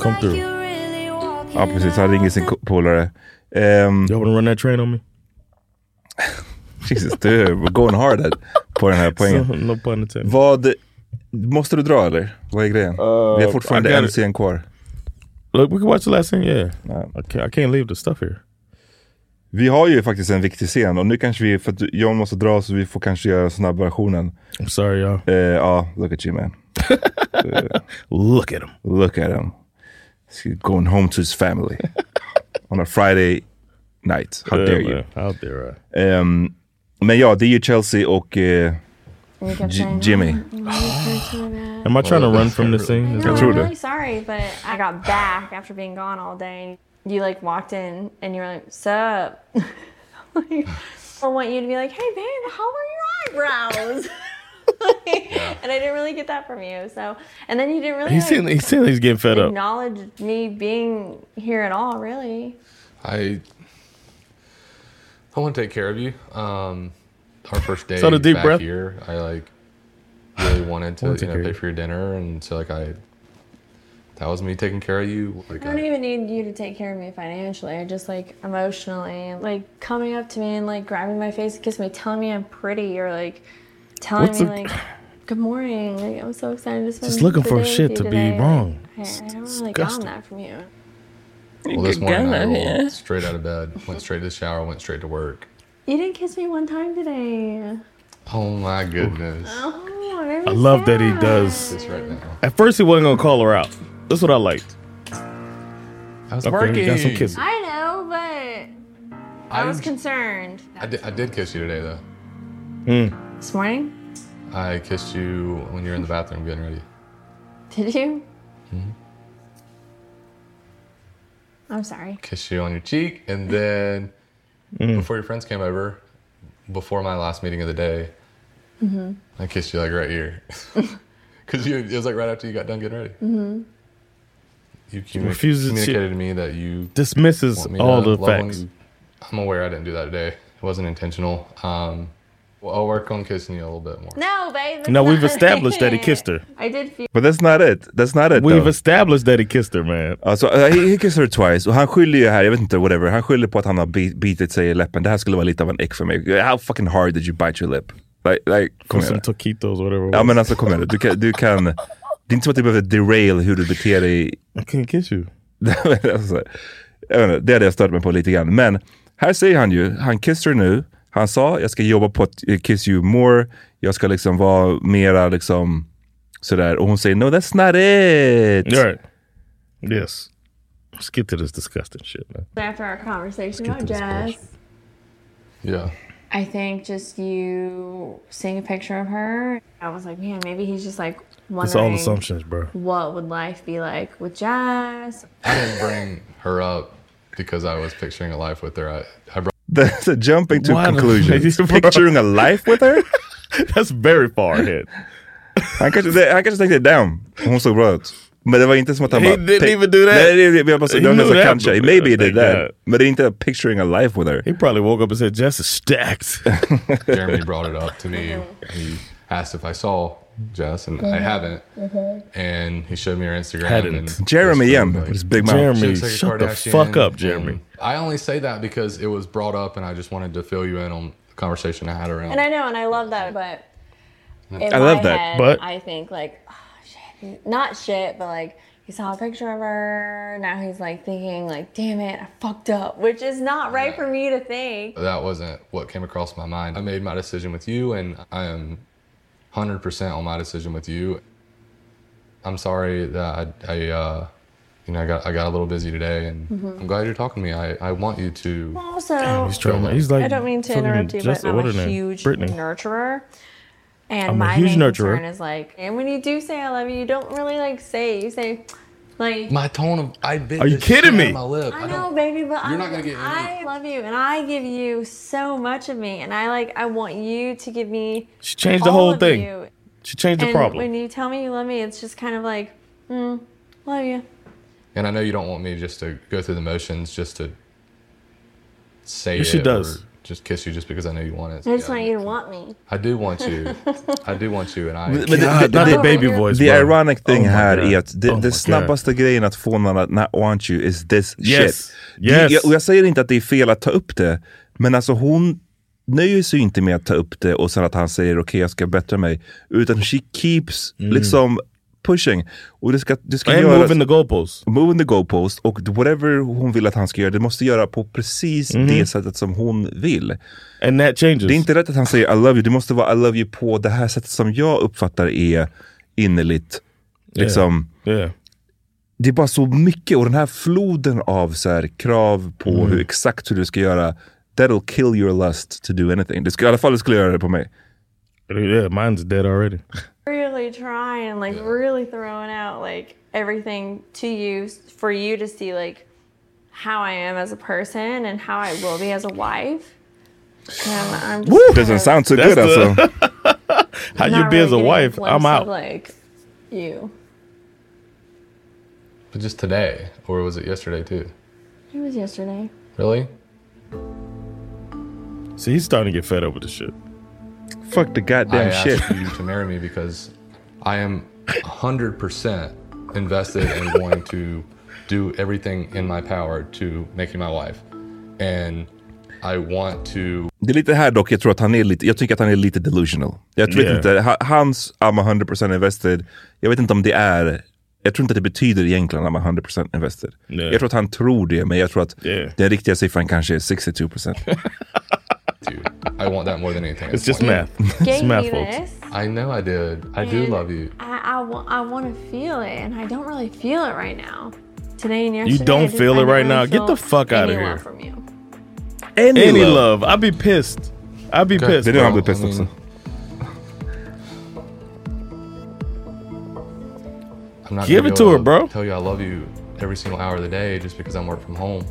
B: Come through.
A: Ja, precis. Han ringer sin ko- polare. Um,
B: you wanna run that train on me?
A: Jesus, du we're going hard at, på den här
B: So,
A: poängen.
B: no pun intended.
A: Vad... Måste du dra eller? Vad är grejen? Vi har
B: Uh, I
A: fortfarande
B: got
A: en
B: it.
A: scen kvar.
B: Look, we can watch the last scene, yeah. I, can't, I can't leave the stuff here.
A: Vi har ju faktiskt en viktig scen och nu kanske vi, för att John måste dra så vi får kanske göra snabbversionen.
B: I'm sorry y'all.
A: Eh, Ja, look at you man.
B: look at him.
A: Look at him. He's going home to his family. On a Friday night. How
B: Yeah,
A: dare
B: man.
A: you.
B: How dare
A: Ehm, men ja, det är ju Chelsea och eh,
I: You kept
A: J-
I: saying,
A: Jimmy.
B: Am I
G: Oh,
B: trying to run from this scene? Is
I: No,
B: that-
I: I'm really sorry, but I got back after being gone all day. And you like walked in and you were like, "Sup?" like, I want you to be like, "Hey, babe, how are your eyebrows?" Like, And I didn't really get that from you. So, and then you didn't really.
B: He seemed-
I: like,
B: he seemed like he's getting fed up.
I: Acknowledge me being here at all, really.
G: I I want to take care of you. Um, our first day
B: Sound a deep
G: back
B: breath.
G: here, I like really wanted
B: I
G: to
B: wanna
G: you
B: take
G: know
B: care of
G: pay
B: you.
G: for your dinner, and so like I that was me taking care of you. Like
I: I don't even need you to take care of me financially, I just like emotionally. Like coming up to me and like grabbing my face, kissing me, telling me I'm pretty, or like telling
B: What's
I: me
B: the-
I: like, "Good morning." Like I'm so excited to spend
B: Just looking
I: the
B: for
I: day
B: shit
I: with you
B: to be
I: today. Like,
B: wrong.
I: I,
B: It's
I: I haven't really gotten
B: disgusting.
I: that from you.
G: well, this
I: Good
G: morning I
I: guy, yeah.
G: rolled straight out of bed, went straight to the shower, went straight to work.
I: You didn't kiss me one time today.
G: Oh my goodness!
I: Oh, I'm
B: I love that he does. At first, he wasn't gonna call her out. That's what I liked. I
G: was
B: He got some
G: working.
B: kisses.
I: I know, but I,
G: I
I: was
G: didn't-
I: concerned
G: I did, I did kiss you today though.
I: this morning.
G: I kissed you when you were in the bathroom getting ready.
I: Did you?
B: Hmm?
I: I'm sorry.
G: Kissed you on your cheek, and then
B: Mm.
G: before your friends came over, before my last meeting of the day,
I: Mm-hmm.
G: I kissed you like right here. Cause you, it was like right after you got done getting ready.
I: Mm-hmm.
G: You
B: She
G: communi-
B: refuses- she
G: communicated to me that you
B: dismisses
G: want me
B: all
G: to
B: the
G: love on
B: facts.
G: you. I'm aware I didn't do that today. It wasn't intentional. Um, well, I'll work on kissing you a little bit more.
I: No, babe. that's
B: No, we've
I: not-
B: established that he kissed her.
I: I did feel.
A: But that's not it. That's not it
B: We've
A: though.
B: established that he kissed her man.
A: Alltså, uh, he, he kissed her twice och han skyller ju här, jag vet inte, whatever. Han skyller på att han har bi- bitit sig i läppen. Det här skulle vara lite av en ick för mig. How fucking hard did you bite your lip? Like, like, kom
B: For some
A: igen.
B: taquitos, whatever. it
A: Ja
B: was.
A: men alltså kom igen nu. du kan, du kan. Det är inte som att du behöver derail hur du beter dig.
B: I can't kiss you.
A: alltså, jag vet inte, det hade jag stört mig på lite grann. Men här säger han ju, han kissar nu. Han sa, jag ska jobba på att eh, kiss you more. Jag ska liksom vara mera liksom sådär. Och hon säger, no that's not it.
B: All right. Yes. Let's get to this disgusting shit, man.
I: After our conversation
B: Let's
I: about
B: get to this
I: Jess,
G: Yeah.
I: I think just you seeing a picture of her, I was like, man, maybe he's just like wondering.
G: It's all assumptions, bro.
I: What would life be like with Jess?
G: I didn't bring her up because I was picturing a life with her. I, I brought
A: That's a jumping to
G: What a
A: conclusions.
G: lady, bro.
A: Picturing a life with her?
B: That's very far ahead.
A: Han kanske, det- han kanske tänkte damn, hon såg bra ut. Men det var inte som att han
B: He
A: bara...
B: didn't
A: pick-
B: even do that.
A: Nej, det, det, jag bara,
B: He
A: det var
B: knew
A: nästan
B: that,
A: kanske.
B: bro.
A: Maybe he did
B: Thank
A: that.
B: God.
A: Men det är inte picturing a life with her.
B: He probably woke up and said, Jess is stacked.
G: Jeremy brought it up to me. He asked if I saw Jess, and I haven't. And he showed me her Instagram. And
A: Jeremy igen, with his big mouth.
G: She looks like a Kardashian, and
A: Jeremy.
G: I only say that because it was brought up, and I just wanted to fill you in on the conversation I had around.
I: And I know, and I love that, but in
G: I love
I: my
G: that,
I: head,
G: but-
I: I think like not shit, but like he saw a picture of her. Now he's like thinking like, damn it, I fucked up, which is not right for me to think.
G: That wasn't what came across my mind. I made my decision with you, and I am 100% on my decision with you. I'm sorry that I, I uh, you know, I got I got a little busy today, and
I: Mhm.
G: I'm glad you're talking to me. I, I want you to.
I: Also,
G: he's trying to- he's like
I: I don't mean to
G: fucking
I: interrupt you, but
G: Jessica,
I: I'm
G: what
I: a
G: her name?
I: huge
G: Brittany.
I: nurturer. And
B: I'm a
I: my
B: huge
I: main
B: nurturer.
I: concern is like, and when you do say I love you, you don't really like say it. You say, like,
G: My tone of I bit.
B: Are you
G: this
B: kidding
G: shit out of
B: me?
G: My lip.
I: I,
G: I
I: know,
G: don't.
I: baby, but
G: you're
I: I'm,
G: not gonna get
I: I love you, and I give you so much of me, and I like, I want you to give me.
B: She changed the
I: all
B: whole
I: of
B: thing.
I: you.
B: She changed the
I: And
B: problem.
I: When you tell me you love me, it's just kind of like, mm, love you.
G: And I know you don't want me just to go through the motions, just to say
B: Yes, she
G: it
B: does.
G: or just kiss you, just because I know you want it.
I: I just want you to want me.
G: I do want you. I do want you, and I.
A: Men det- det- det- The ironic
B: Oh
A: thing här är att det, det snabbaste grejen att få någon att not want you is this
B: Yes.
A: shit. Det-
B: Yes.
A: Jag, och jag säger inte att det är fel att ta upp det, men alltså hon nöjer sig ju inte med att ta upp det och sen att han säger okej jag ska bättra mig. Utan she keeps
B: Mm.
A: liksom pushing. Och det ska, det ska
B: And
A: göras,
B: moving the goalpost.
A: Moving the goalpost och whatever hon vill att han ska göra, det måste göra på precis
B: Mhm.
A: det sättet som hon vill. Det är inte rätt att han säger I love you, det måste vara I love you på det här sättet som jag uppfattar är innerligt. Liksom,
B: Yeah.
A: Det är bara så mycket och den här floden av så här, krav på
B: Mm.
A: hur, exakt hur du ska göra, that'll kill your lust to do anything. Det skulle, I alla fall det skulle göra det på mig.
B: Yeah, mine's dead already.
I: Really trying, like, really throwing out, like, everything to you s- for you to see, like, how I am as a person and how I will be as a wife. And I'm just kind
A: Doesn't
I: of
A: sound too
B: That's
A: good alltså.
B: the- How you
I: not
B: be
I: really
B: as a
I: getting
B: wife?
I: glimpse
B: I'm
I: Of,
B: out.
I: like, you.
G: But just today, or was it yesterday too?
I: It was yesterday.
G: Really?
B: See, he's starting to get fed up with the shit.
A: Fuck the goddamn
G: I
A: shit.
G: asked you to marry me because I am 100% invested in going to do everything in my power to make you my wife. And I want to
A: Det är lite här dock, jag tror att han är lite, jag tycker att han är lite delusional. Jag vet
G: Yeah.
A: inte, ha- hans I'm 100% invested, jag vet inte om det är, jag tror inte det betyder egentligen I'm 100% invested.
G: Yeah.
A: Jag tror att han tror det, men jag tror att
G: Yeah.
A: den riktiga siffran kanske är 62%.
G: I want that more than anything.
A: It's just math. It's
I: Gave math, me folks. this.
G: I know I did. I do
I: And
G: love you.
I: I, I, wa- I want to feel it, and I don't really feel it right now. Today and yesterday.
B: You
I: I
B: don't
I: just-
B: feel
I: I
B: it right
I: don't
B: now.
I: feel
B: Get the fuck
I: any
B: out of
I: love
B: here.
I: from you.
A: Any,
B: love. I'd be pissed. I'd be
A: Okay.
B: pissed.
A: Det är det han blir
B: bro.
A: pissed också.
G: I'm not
B: Give
G: gonna
B: it
G: be
B: to her,
G: able
B: bro.
G: Tell you I love you every single hour of the day just because I'm working from home.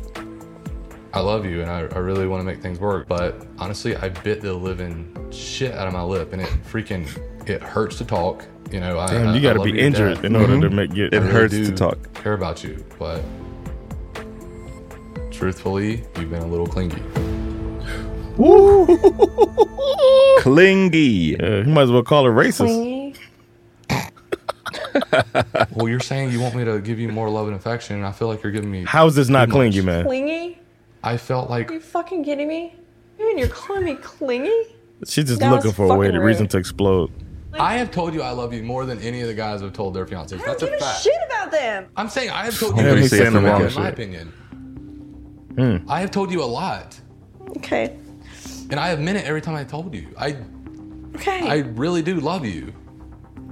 G: I love you and I, I really want to make things work, but honestly, I bit the living shit out of my lip and it freaking it hurts to talk. You know, I,
B: Damn,
G: I-
B: you
G: I
B: gotta
G: love
B: be
G: you to
B: injured
G: death.
B: in order to Mhm. make- get-
G: I
B: It
G: really
B: hurts to
G: do
B: talk.
G: Care about you, but truthfully, you've been a little clingy.
A: Clingy.
B: Yeah, you might as well call her racist.
I: Clingy.
G: well, you're saying you want me to give you more love and affection, and I feel like you're giving me.
B: How is this not
G: too much.
B: clingy, man?
I: Clingy?
G: I felt like
I: Are you fucking kidding me? Man, you're calling me clingy?
B: She's just
I: That
B: looking
I: was
B: for a way
I: fucking
B: to reason to explode.
G: I have told you I love you more than any of the guys have told their fiancés. That's a fact.
I: Shit about them.
G: I'm saying I have told
B: Hopefully
G: you
B: he's saying the wrong
G: in my
B: shit.
G: opinion.
B: Mm.
G: I have told you a lot.
I: Okay.
G: And I have meant it every time I told you. I
I: okay.
G: I really do love you.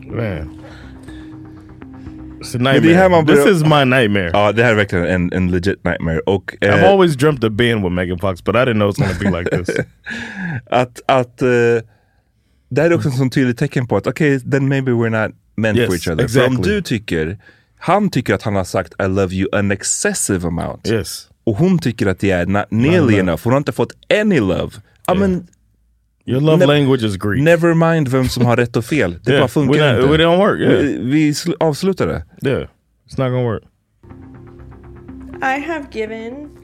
B: Man. It's a
A: Men det är här
B: nightmare.
A: man
B: This
A: börjar-
B: is my nightmare.
A: Ja, Ah, det här är verkligen en, en legit nightmare. Och,
B: I've
A: eh,
B: always dreamt of being with Megan Fox, but I didn't know it's gonna be like this.
A: att, att eh, det här är också ett sånt tydligt tecken på att okej, then maybe we're not meant
B: Yes,
A: for each other. För om
B: exactly.
A: du tycker, han tycker att han har sagt I love you an excessive amount.
B: Yes.
A: Och hon tycker att det är not nearly enough. Hon har inte fått any love. Ja, men,
B: Your love language is Greek.
A: Never mind vem som har rätt och fel. Det
B: Yeah,
A: bara funkar
B: we're not-
A: inte.
B: we don't work, yeah.
A: Vi, vi sl- avslutar det.
B: Yeah. It's not gonna work.
I: I have given.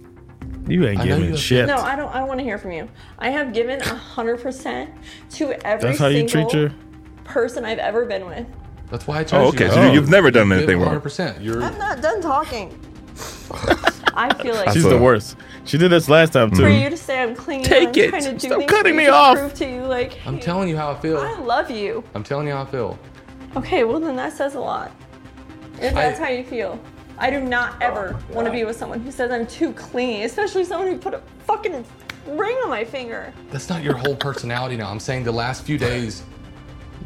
B: You ain't
A: I know you
B: giving
A: have-
B: shit.
I: No, I don't. I want to hear from you. I have given hundred percent to every
G: That's how you
I: single
G: treat your-
I: person I've ever been with.
G: That's why I
A: Oh,
G: chose
A: okay.
G: you.
A: So you've never done anything wrong.
G: 100%. You're
I: I'm not done talking. I feel like
B: She's the worst. Mm. She did this last time too.
I: For you to say I'm clinging,
B: Take
I: I'm
B: it.
I: trying to do
B: Stop
I: things
B: cutting
I: for
B: me
I: you to
B: off.
I: Prove to you, like
G: I'm telling you how I feel.
I: I love you.
G: I'm telling you how I feel.
H: Okay, well then that says a lot. If that's
I: I-
H: how you feel. I do not
B: Oh,
H: ever want to be with someone who says I'm too clean, especially someone who put a fucking ring on my finger.
G: That's not your whole personality now. I'm saying the last few days.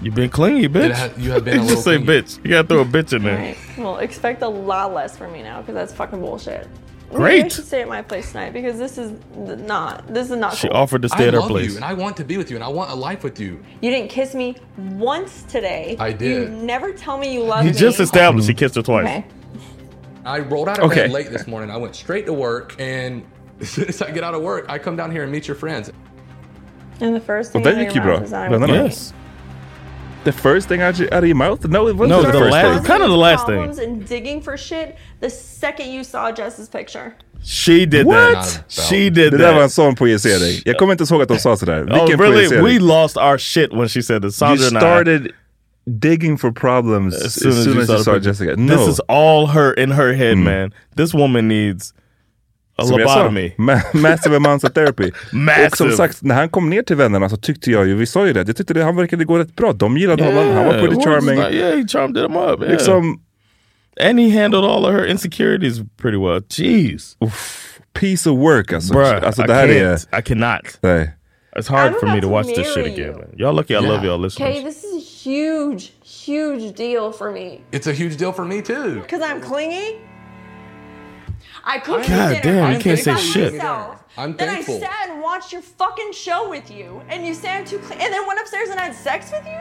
B: You've been clingy, bitch.
G: It ha- you have been a
B: just say
G: little
B: bitch. You gotta throw a bitch in there.
H: Well, expect a lot less from me now because that's fucking bullshit. Maybe I
B: Great.
H: should stay at my place tonight because this is th- not. This is not.
B: She
H: cool.
B: offered to stay
G: I
B: at her
G: love
B: place.
G: You, and I want to be with you, and I want a life with you.
H: You didn't kiss me once today.
G: I did.
H: You never tell me you love
B: He
H: me.
B: just established he kissed her twice.
H: Okay.
G: I rolled out of
B: Okay.
G: bed late this morning. I went straight to work, and as soon as I get out of work, I come down here and meet your friends.
H: And the first
G: Well,
H: thing
G: thank
H: out of
G: you,
H: your
G: bro.
H: mouth is that I
G: No, no,
H: want
G: no.
H: to
B: Yes.
A: The first thing out, your- out of your mouth? No, it wasn't
B: No,
A: the,
B: the
A: first
B: last-
A: thing.
B: kinda the last
H: problems and digging for shit the second you saw Jess's picture.
B: She did that. She
A: det
B: did that.
A: där var en sån projicering. Jag kommer inte ens ihåg att de sa sådär. Vilken
B: Oh, really?
A: projicering?
B: We lost our shit when she said this. Sandra
A: you
B: and I-
A: started digging for problems as soon as, you, saw,
B: the picture.
A: Jessica.
B: This
A: No.
B: is all her in her head, man. This woman needs a
A: Som jag sa,
B: lobotomy.
A: ma- Massive amounts of therapy. Och som
B: Massive.
A: sagt, när han kom ner till vännerna så tyckte jag ju, vi sa ju det, jag tyckte det, han verkade gå rätt bra. De gillade honom, han var
B: Yeah,
A: pretty
B: it was
A: charming.
B: like, yeah, he charmed them up. Yeah.
A: Liksom-
B: and he handled all of her insecurities pretty well. Jeez.
A: piece of work alltså.
B: Bruh,
A: alltså
B: I
A: det här är...
B: can't. I cannot.
A: Nej.
B: It's hard
H: I'm
B: for me
H: about
B: to
H: to
B: watch this shit
H: marry
B: again. Man. Y'all lucky I
G: Yeah.
B: love y'all listeners.
H: Okay, this is a huge, huge deal for me
G: It's a huge deal for me too.
H: because I'm clingy. I cooked you
G: God
H: dinner.
G: damn, you
H: I
G: can't
H: cooked
G: say
H: by
G: shit.
H: myself.
G: I'm
H: then
G: thankful.
H: I sat and watched your fucking show with you, and you say I'm too clean, and then went upstairs and had sex with you,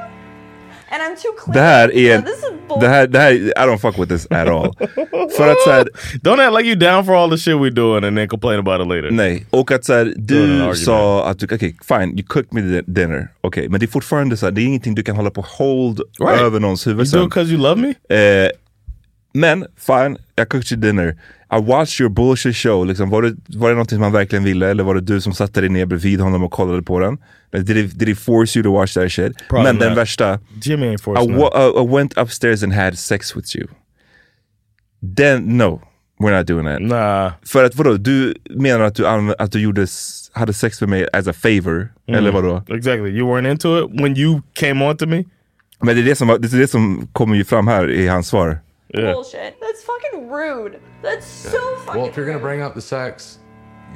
H: and I'm too clean.
A: Det här
H: No,
A: är...
H: this is
A: Det här, det här, I don't fuck with this at all. För att såhär...
B: Don't act like you down for all the shit we doing and then complain about it later.
A: Nej, och att såhär,
B: Doing an
A: du
B: argument.
A: sa att du, okej fine, you cooked me di- dinner. Okej, men det är fortfarande såhär, det är ingenting du kan hålla på hold
B: Right.
A: över någons huvud
B: You do it 'cause you love me?
A: Eh, men fine, jag cooked you dinner. I watched your bullshit show. Liksom, var, det, var det någonting som han verkligen ville eller var det du som satte dig ner bredvid honom och kollade på den? Like, Did he, did he force you to watch that shit?
B: Probably
A: men den
B: not.
A: värsta,
B: Jimmy ain't forced
A: I,
B: nothing.
A: wa- I- I went upstairs and had sex with you. Then, no, we're not doing that. För att vadå, du menar att du, anv- att du gjorde, s- hade sex med mig as a favor? eh,
B: Mm.
A: Eller vadå?
B: Exactly. You weren't into it when you came on to me?
A: Men det är det som, det är det som kommer ju fram här i hans svar.
H: bullshit. That's fucking rude. That's so fucking.
G: Well, if you're gonna bring up the sex,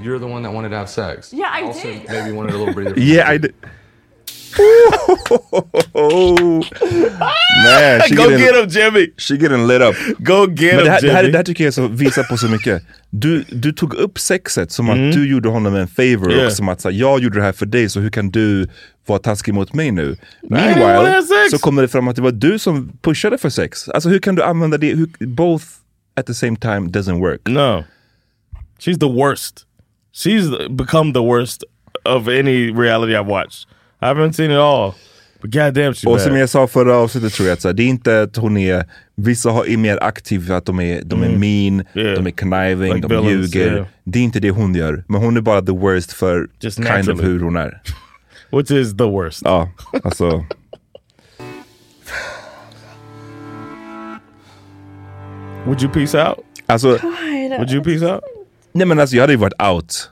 G: you're the one that wanted to have sex.
H: Yeah, I
G: also,
H: did.
G: Maybe wanted a little breather.
A: Yeah, I did. Oh. Man, she
B: Go
A: getting-
B: get him, Jimmy!
A: She getting lit up.
B: Go get
A: Men det, här,
B: him,
A: det, här,
B: Jimmy.
A: det här tycker jag så visar på så mycket. Du, du tog upp sexet som att
B: Mm.
A: du gjorde honom en favor
B: Yeah.
A: och som att så här, jag gjorde det här för dig så hur kan du vara taskig mot mig nu?
B: didn't wanna
A: Meanwhile
B: have sex.
A: så kommer det fram att det var du som pushade för sex. Alltså hur kan du använda det? Hur, both at the same time doesn't work.
B: No. She's the worst. She's become the worst of any reality I've watched. I haven't seen it all. But goddamn, she
A: Och som
B: bad.
A: jag sa förra avsnittet tror jag att så här, det är inte att hon är, vissa har- är mer aktiva, att de är, de är
B: Mm.
A: mean, de är conniving,
B: Like
A: de
B: villains,
A: ljuger.
B: yeah.
A: Det är inte det hon gör, men hon är bara the worst för kind of
B: naturally.
A: hur hon är.
B: Which is the worst.
A: Ja, alltså.
B: Would you peace out?
A: alltså
B: God. Would you peace out?
A: Nej men alltså jag hade ju varit out.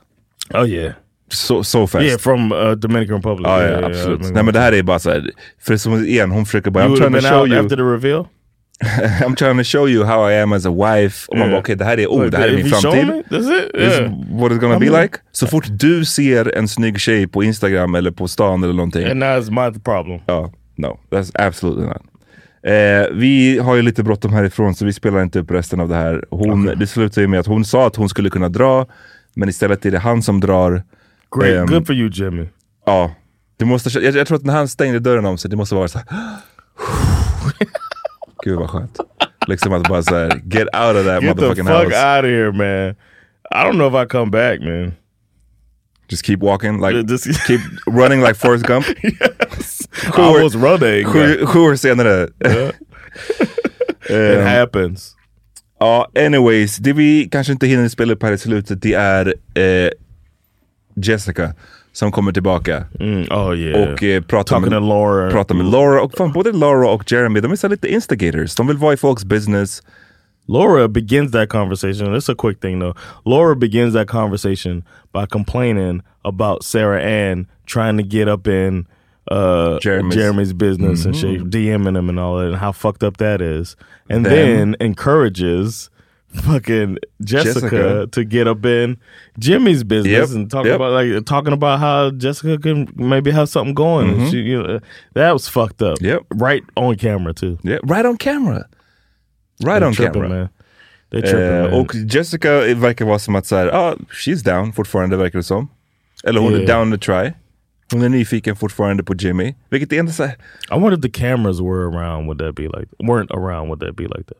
B: Oh yeah.
A: So, so fast.
B: Yeah, from uh, Dominican Republic.
A: Ja,
B: Yeah,
A: ja,
B: yeah,
A: absolut.
B: Dominican
A: Nej men det här är bara såhär, för som igen, hon försöker bara,
B: You
A: I'm
B: would have
A: trying to
B: been
A: show
B: out
A: you,
B: after the reveal?
A: I'm trying to show you how I am as a wife. Och man
B: Yeah.
A: bara okej det här är, oh
B: Like,
A: det här är
B: if
A: min
B: you show
A: framtid.
B: me, that's it,
A: This is
B: yeah.
A: what it's gonna
B: I
A: be
B: mean-
A: like. Så fort du ser en snygg tjej på Instagram eller på stan eller någonting.
B: And now it's my problem.
A: Ja, no, that's absolutely not. Eh, vi har ju lite bråttom härifrån så vi spelar inte upp resten av det här. Hon, Det slutar ju med att hon sa att hon skulle kunna dra, men istället är det han som drar.
B: Great.
A: Ehm,
B: Good for you, Jimmy.
A: Ja. Det måste, jag, jag tror att när han stängde dörren om sig, det måste vara så här. Gud vad skönt. Liksom att bara såhär, get out of that
B: Get the
A: motherfucking
B: fuck
A: house.
B: out of here, man. I don't know if I come back, man.
A: Just keep walking, like
B: just
A: keep running like Forrest Gump. Sju
B: I
A: år-
B: was running.
A: Sju, sju år senare. Um,
B: It happens.
A: Ja, anyways. Det vi kanske inte hinner spela upp här i slutet, det är eh, Jessica som kommer tillbaka.
B: Mm, oh, yeah.
A: Och eh, pratar,
B: Talking
A: med,
B: to Laura.
A: pratar med Laura. Och fan, både Laura och Jeremy, de är så här lite instigators. De vill vara i folks business.
B: Laura begins that conversation. It's a quick thing though. Laura begins that conversation by complaining about Sarah Ann trying to get up in uh,
A: Jeremy's.
B: Jeremy's. business and shit,
A: Mhm.
B: DMing him and all that, and how fucked up that is, and
A: Them.
B: then encourages fucking Jessica,
A: Jessica.
B: to get up in Jimmy's business
A: Yep,
B: and talk
A: yep.
B: about like talking about how Jessica can maybe have something going. and
A: Mhm.
B: she, you know, that was fucked up. Yep, right on camera too.
A: Yeah, right on camera. Right
B: They
A: on
B: tripping,
A: camera.
B: man. They tripping,
A: Eh,
B: man.
A: och Jessica eh, verkar vara som att så här, ah, she's down fortfarande verkar det som. Eller hon
B: Yeah.
A: är down to try. Hon är nyfiken fortfarande på Jimmy. Vilket är ändå så här,
B: I wonder if the cameras were around. Would that be like weren't around? Would that be like that?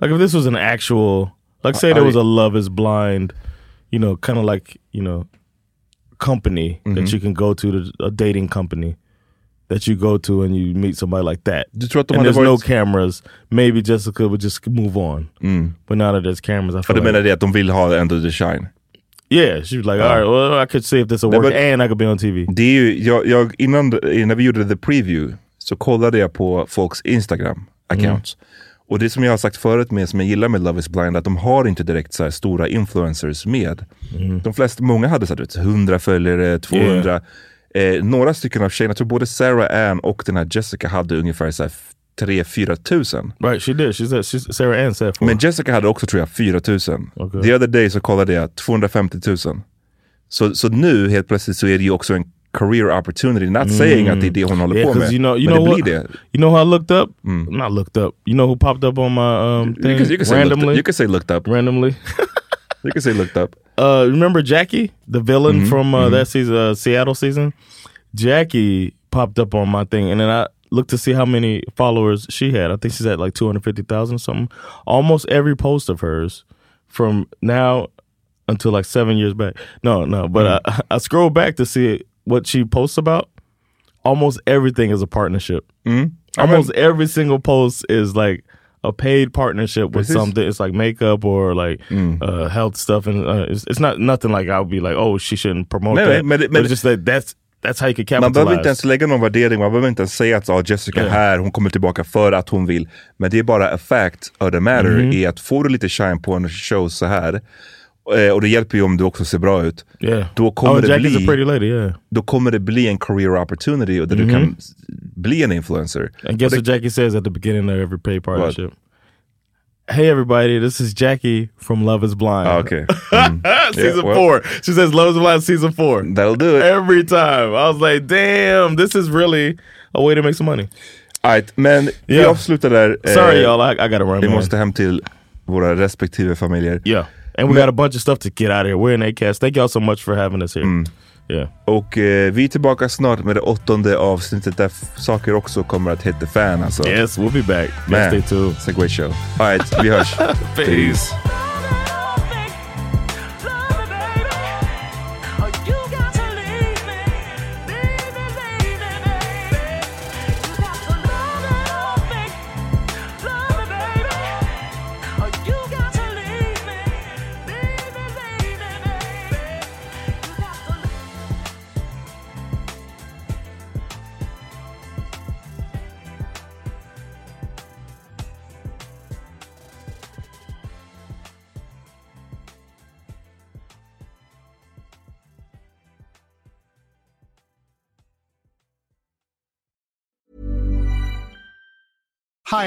B: Like if this was an actual, like say
A: I-
B: there was
A: I-
B: a Love Is Blind, you know, kind of like you know, company
A: Mhm.
B: that you can go to, to- a dating company that you go to and you meet somebody like that.
A: Du tror att de
B: and
A: hade
B: there's no
A: varit-
B: cameras. Maybe Jessica would just move on.
A: Mm.
B: But now that there's cameras, I
A: för
B: feel
A: du
B: like,
A: menar det att de vill ha ändå the shine.
B: yeah, she was like,
A: Ja.
B: all right, well, I could see if this will
A: Nej,
B: work
A: men-
B: and I could be on TV.
A: Det är ju, jag, jag, innan, innan vi gjorde the preview så kollade jag på folks Instagram accounts.
B: Mm.
A: Och det som jag har sagt förut med, som jag gillar med Love is blind, att de har inte direkt så här stora influencers med.
B: Mm.
A: De flesta, många hade så här, du vet, 100 följare, 200. Eh, några stycken av tjejerna, jag tror både Sarah Ann och den här Jessica hade ungefär så här 3-4 tusen.
B: Right, she did. She said, she, Sarah Ann said,
A: Men Jessica hade också tror jag 4 000. The other day så kollade jag 250 000. Så, så nu helt plötsligt så är det ju också en career opportunity. Not saying att det är det hon håller
B: Mm. Yeah,
A: på
B: 'cause
A: med.
B: You know, you
A: men
B: know
A: det
B: what,
A: blir det.
B: You know who I looked up? Not looked up. You know who popped up on my um, thing
A: Mm. You can, you, can say looked,
B: randomly?
A: you can say looked up.
B: Randomly.
A: you can say looked up.
B: uh, remember Jackie, the villain
A: Mhm,
B: from uh,
A: mhm.
B: that season, uh, Seattle season? Jackie popped up on my thing, and then I looked to see how many followers she had. I think she's at like two hundred fifty thousand something. Almost every post of hers from now until like seven years back. No, no, but
A: Mm-hmm.
B: I, I scroll back to see what she posts about. Almost everything is a partnership.
A: Mm-hmm.
B: Almost every single post is like a paid partnership with
A: Precis.
B: something. It's like makeup or like
A: Mm.
B: uh, health stuff, and uh, it's, it's not nothing like I'll be like, oh, she shouldn't promote
A: Nej,
B: that.
A: nej, men det-
B: But
A: men
B: it's
A: det-
B: just that that's that's how you can
A: Man behöver
B: capitalize.
A: inte ens lägga någon värdering, man behöver inte ens säga att ah, Jessica
B: Ja.
A: här, hon kommer tillbaka för att hon vill. Men det är bara a fact of the matter,
B: Mhm.
A: är att får du lite shine på en show så här, eh, och det hjälper ju om du också ser bra ut,
B: Yeah.
A: då
B: oh,
A: kommer det
B: Jackie's a
A: bli
B: pretty lady. Yeah.
A: då kommer det bli en career opportunity och där
B: Mhm.
A: du kan s- bli en influencer.
B: And guess
A: Och
B: what
A: det,
B: Jackie says at the beginning of every paid partnership. Hey everybody, this is Jackie from Love Is Blind.
A: Oh, okay. Mm.
B: season
A: Yeah, well.
B: four. She says Love Is Blind season four.
A: That'll do it
B: every time. I was like, damn, this is really a way to make some money.
A: All right, men vi
B: Yeah.
A: avslutar där.
B: Sorry, y'all, I- I gotta run,
A: eh, Vi
B: man.
A: måste hem till våra respektive familjer.
B: Yeah. And we
A: Men-
B: got a bunch of stuff to get out of here. We're in ACAST. Thank y'all so much for having us here.
A: Mm. Och eh, vi är tillbaka snart med det åttonde avsnittet där f- saker också kommer att heta fan alltså.
B: Yes, we'll be back.
A: Man,
B: Yes, stay tuned.
A: It's a great show. All right, vi hörs.
B: Peace.
P: Hi,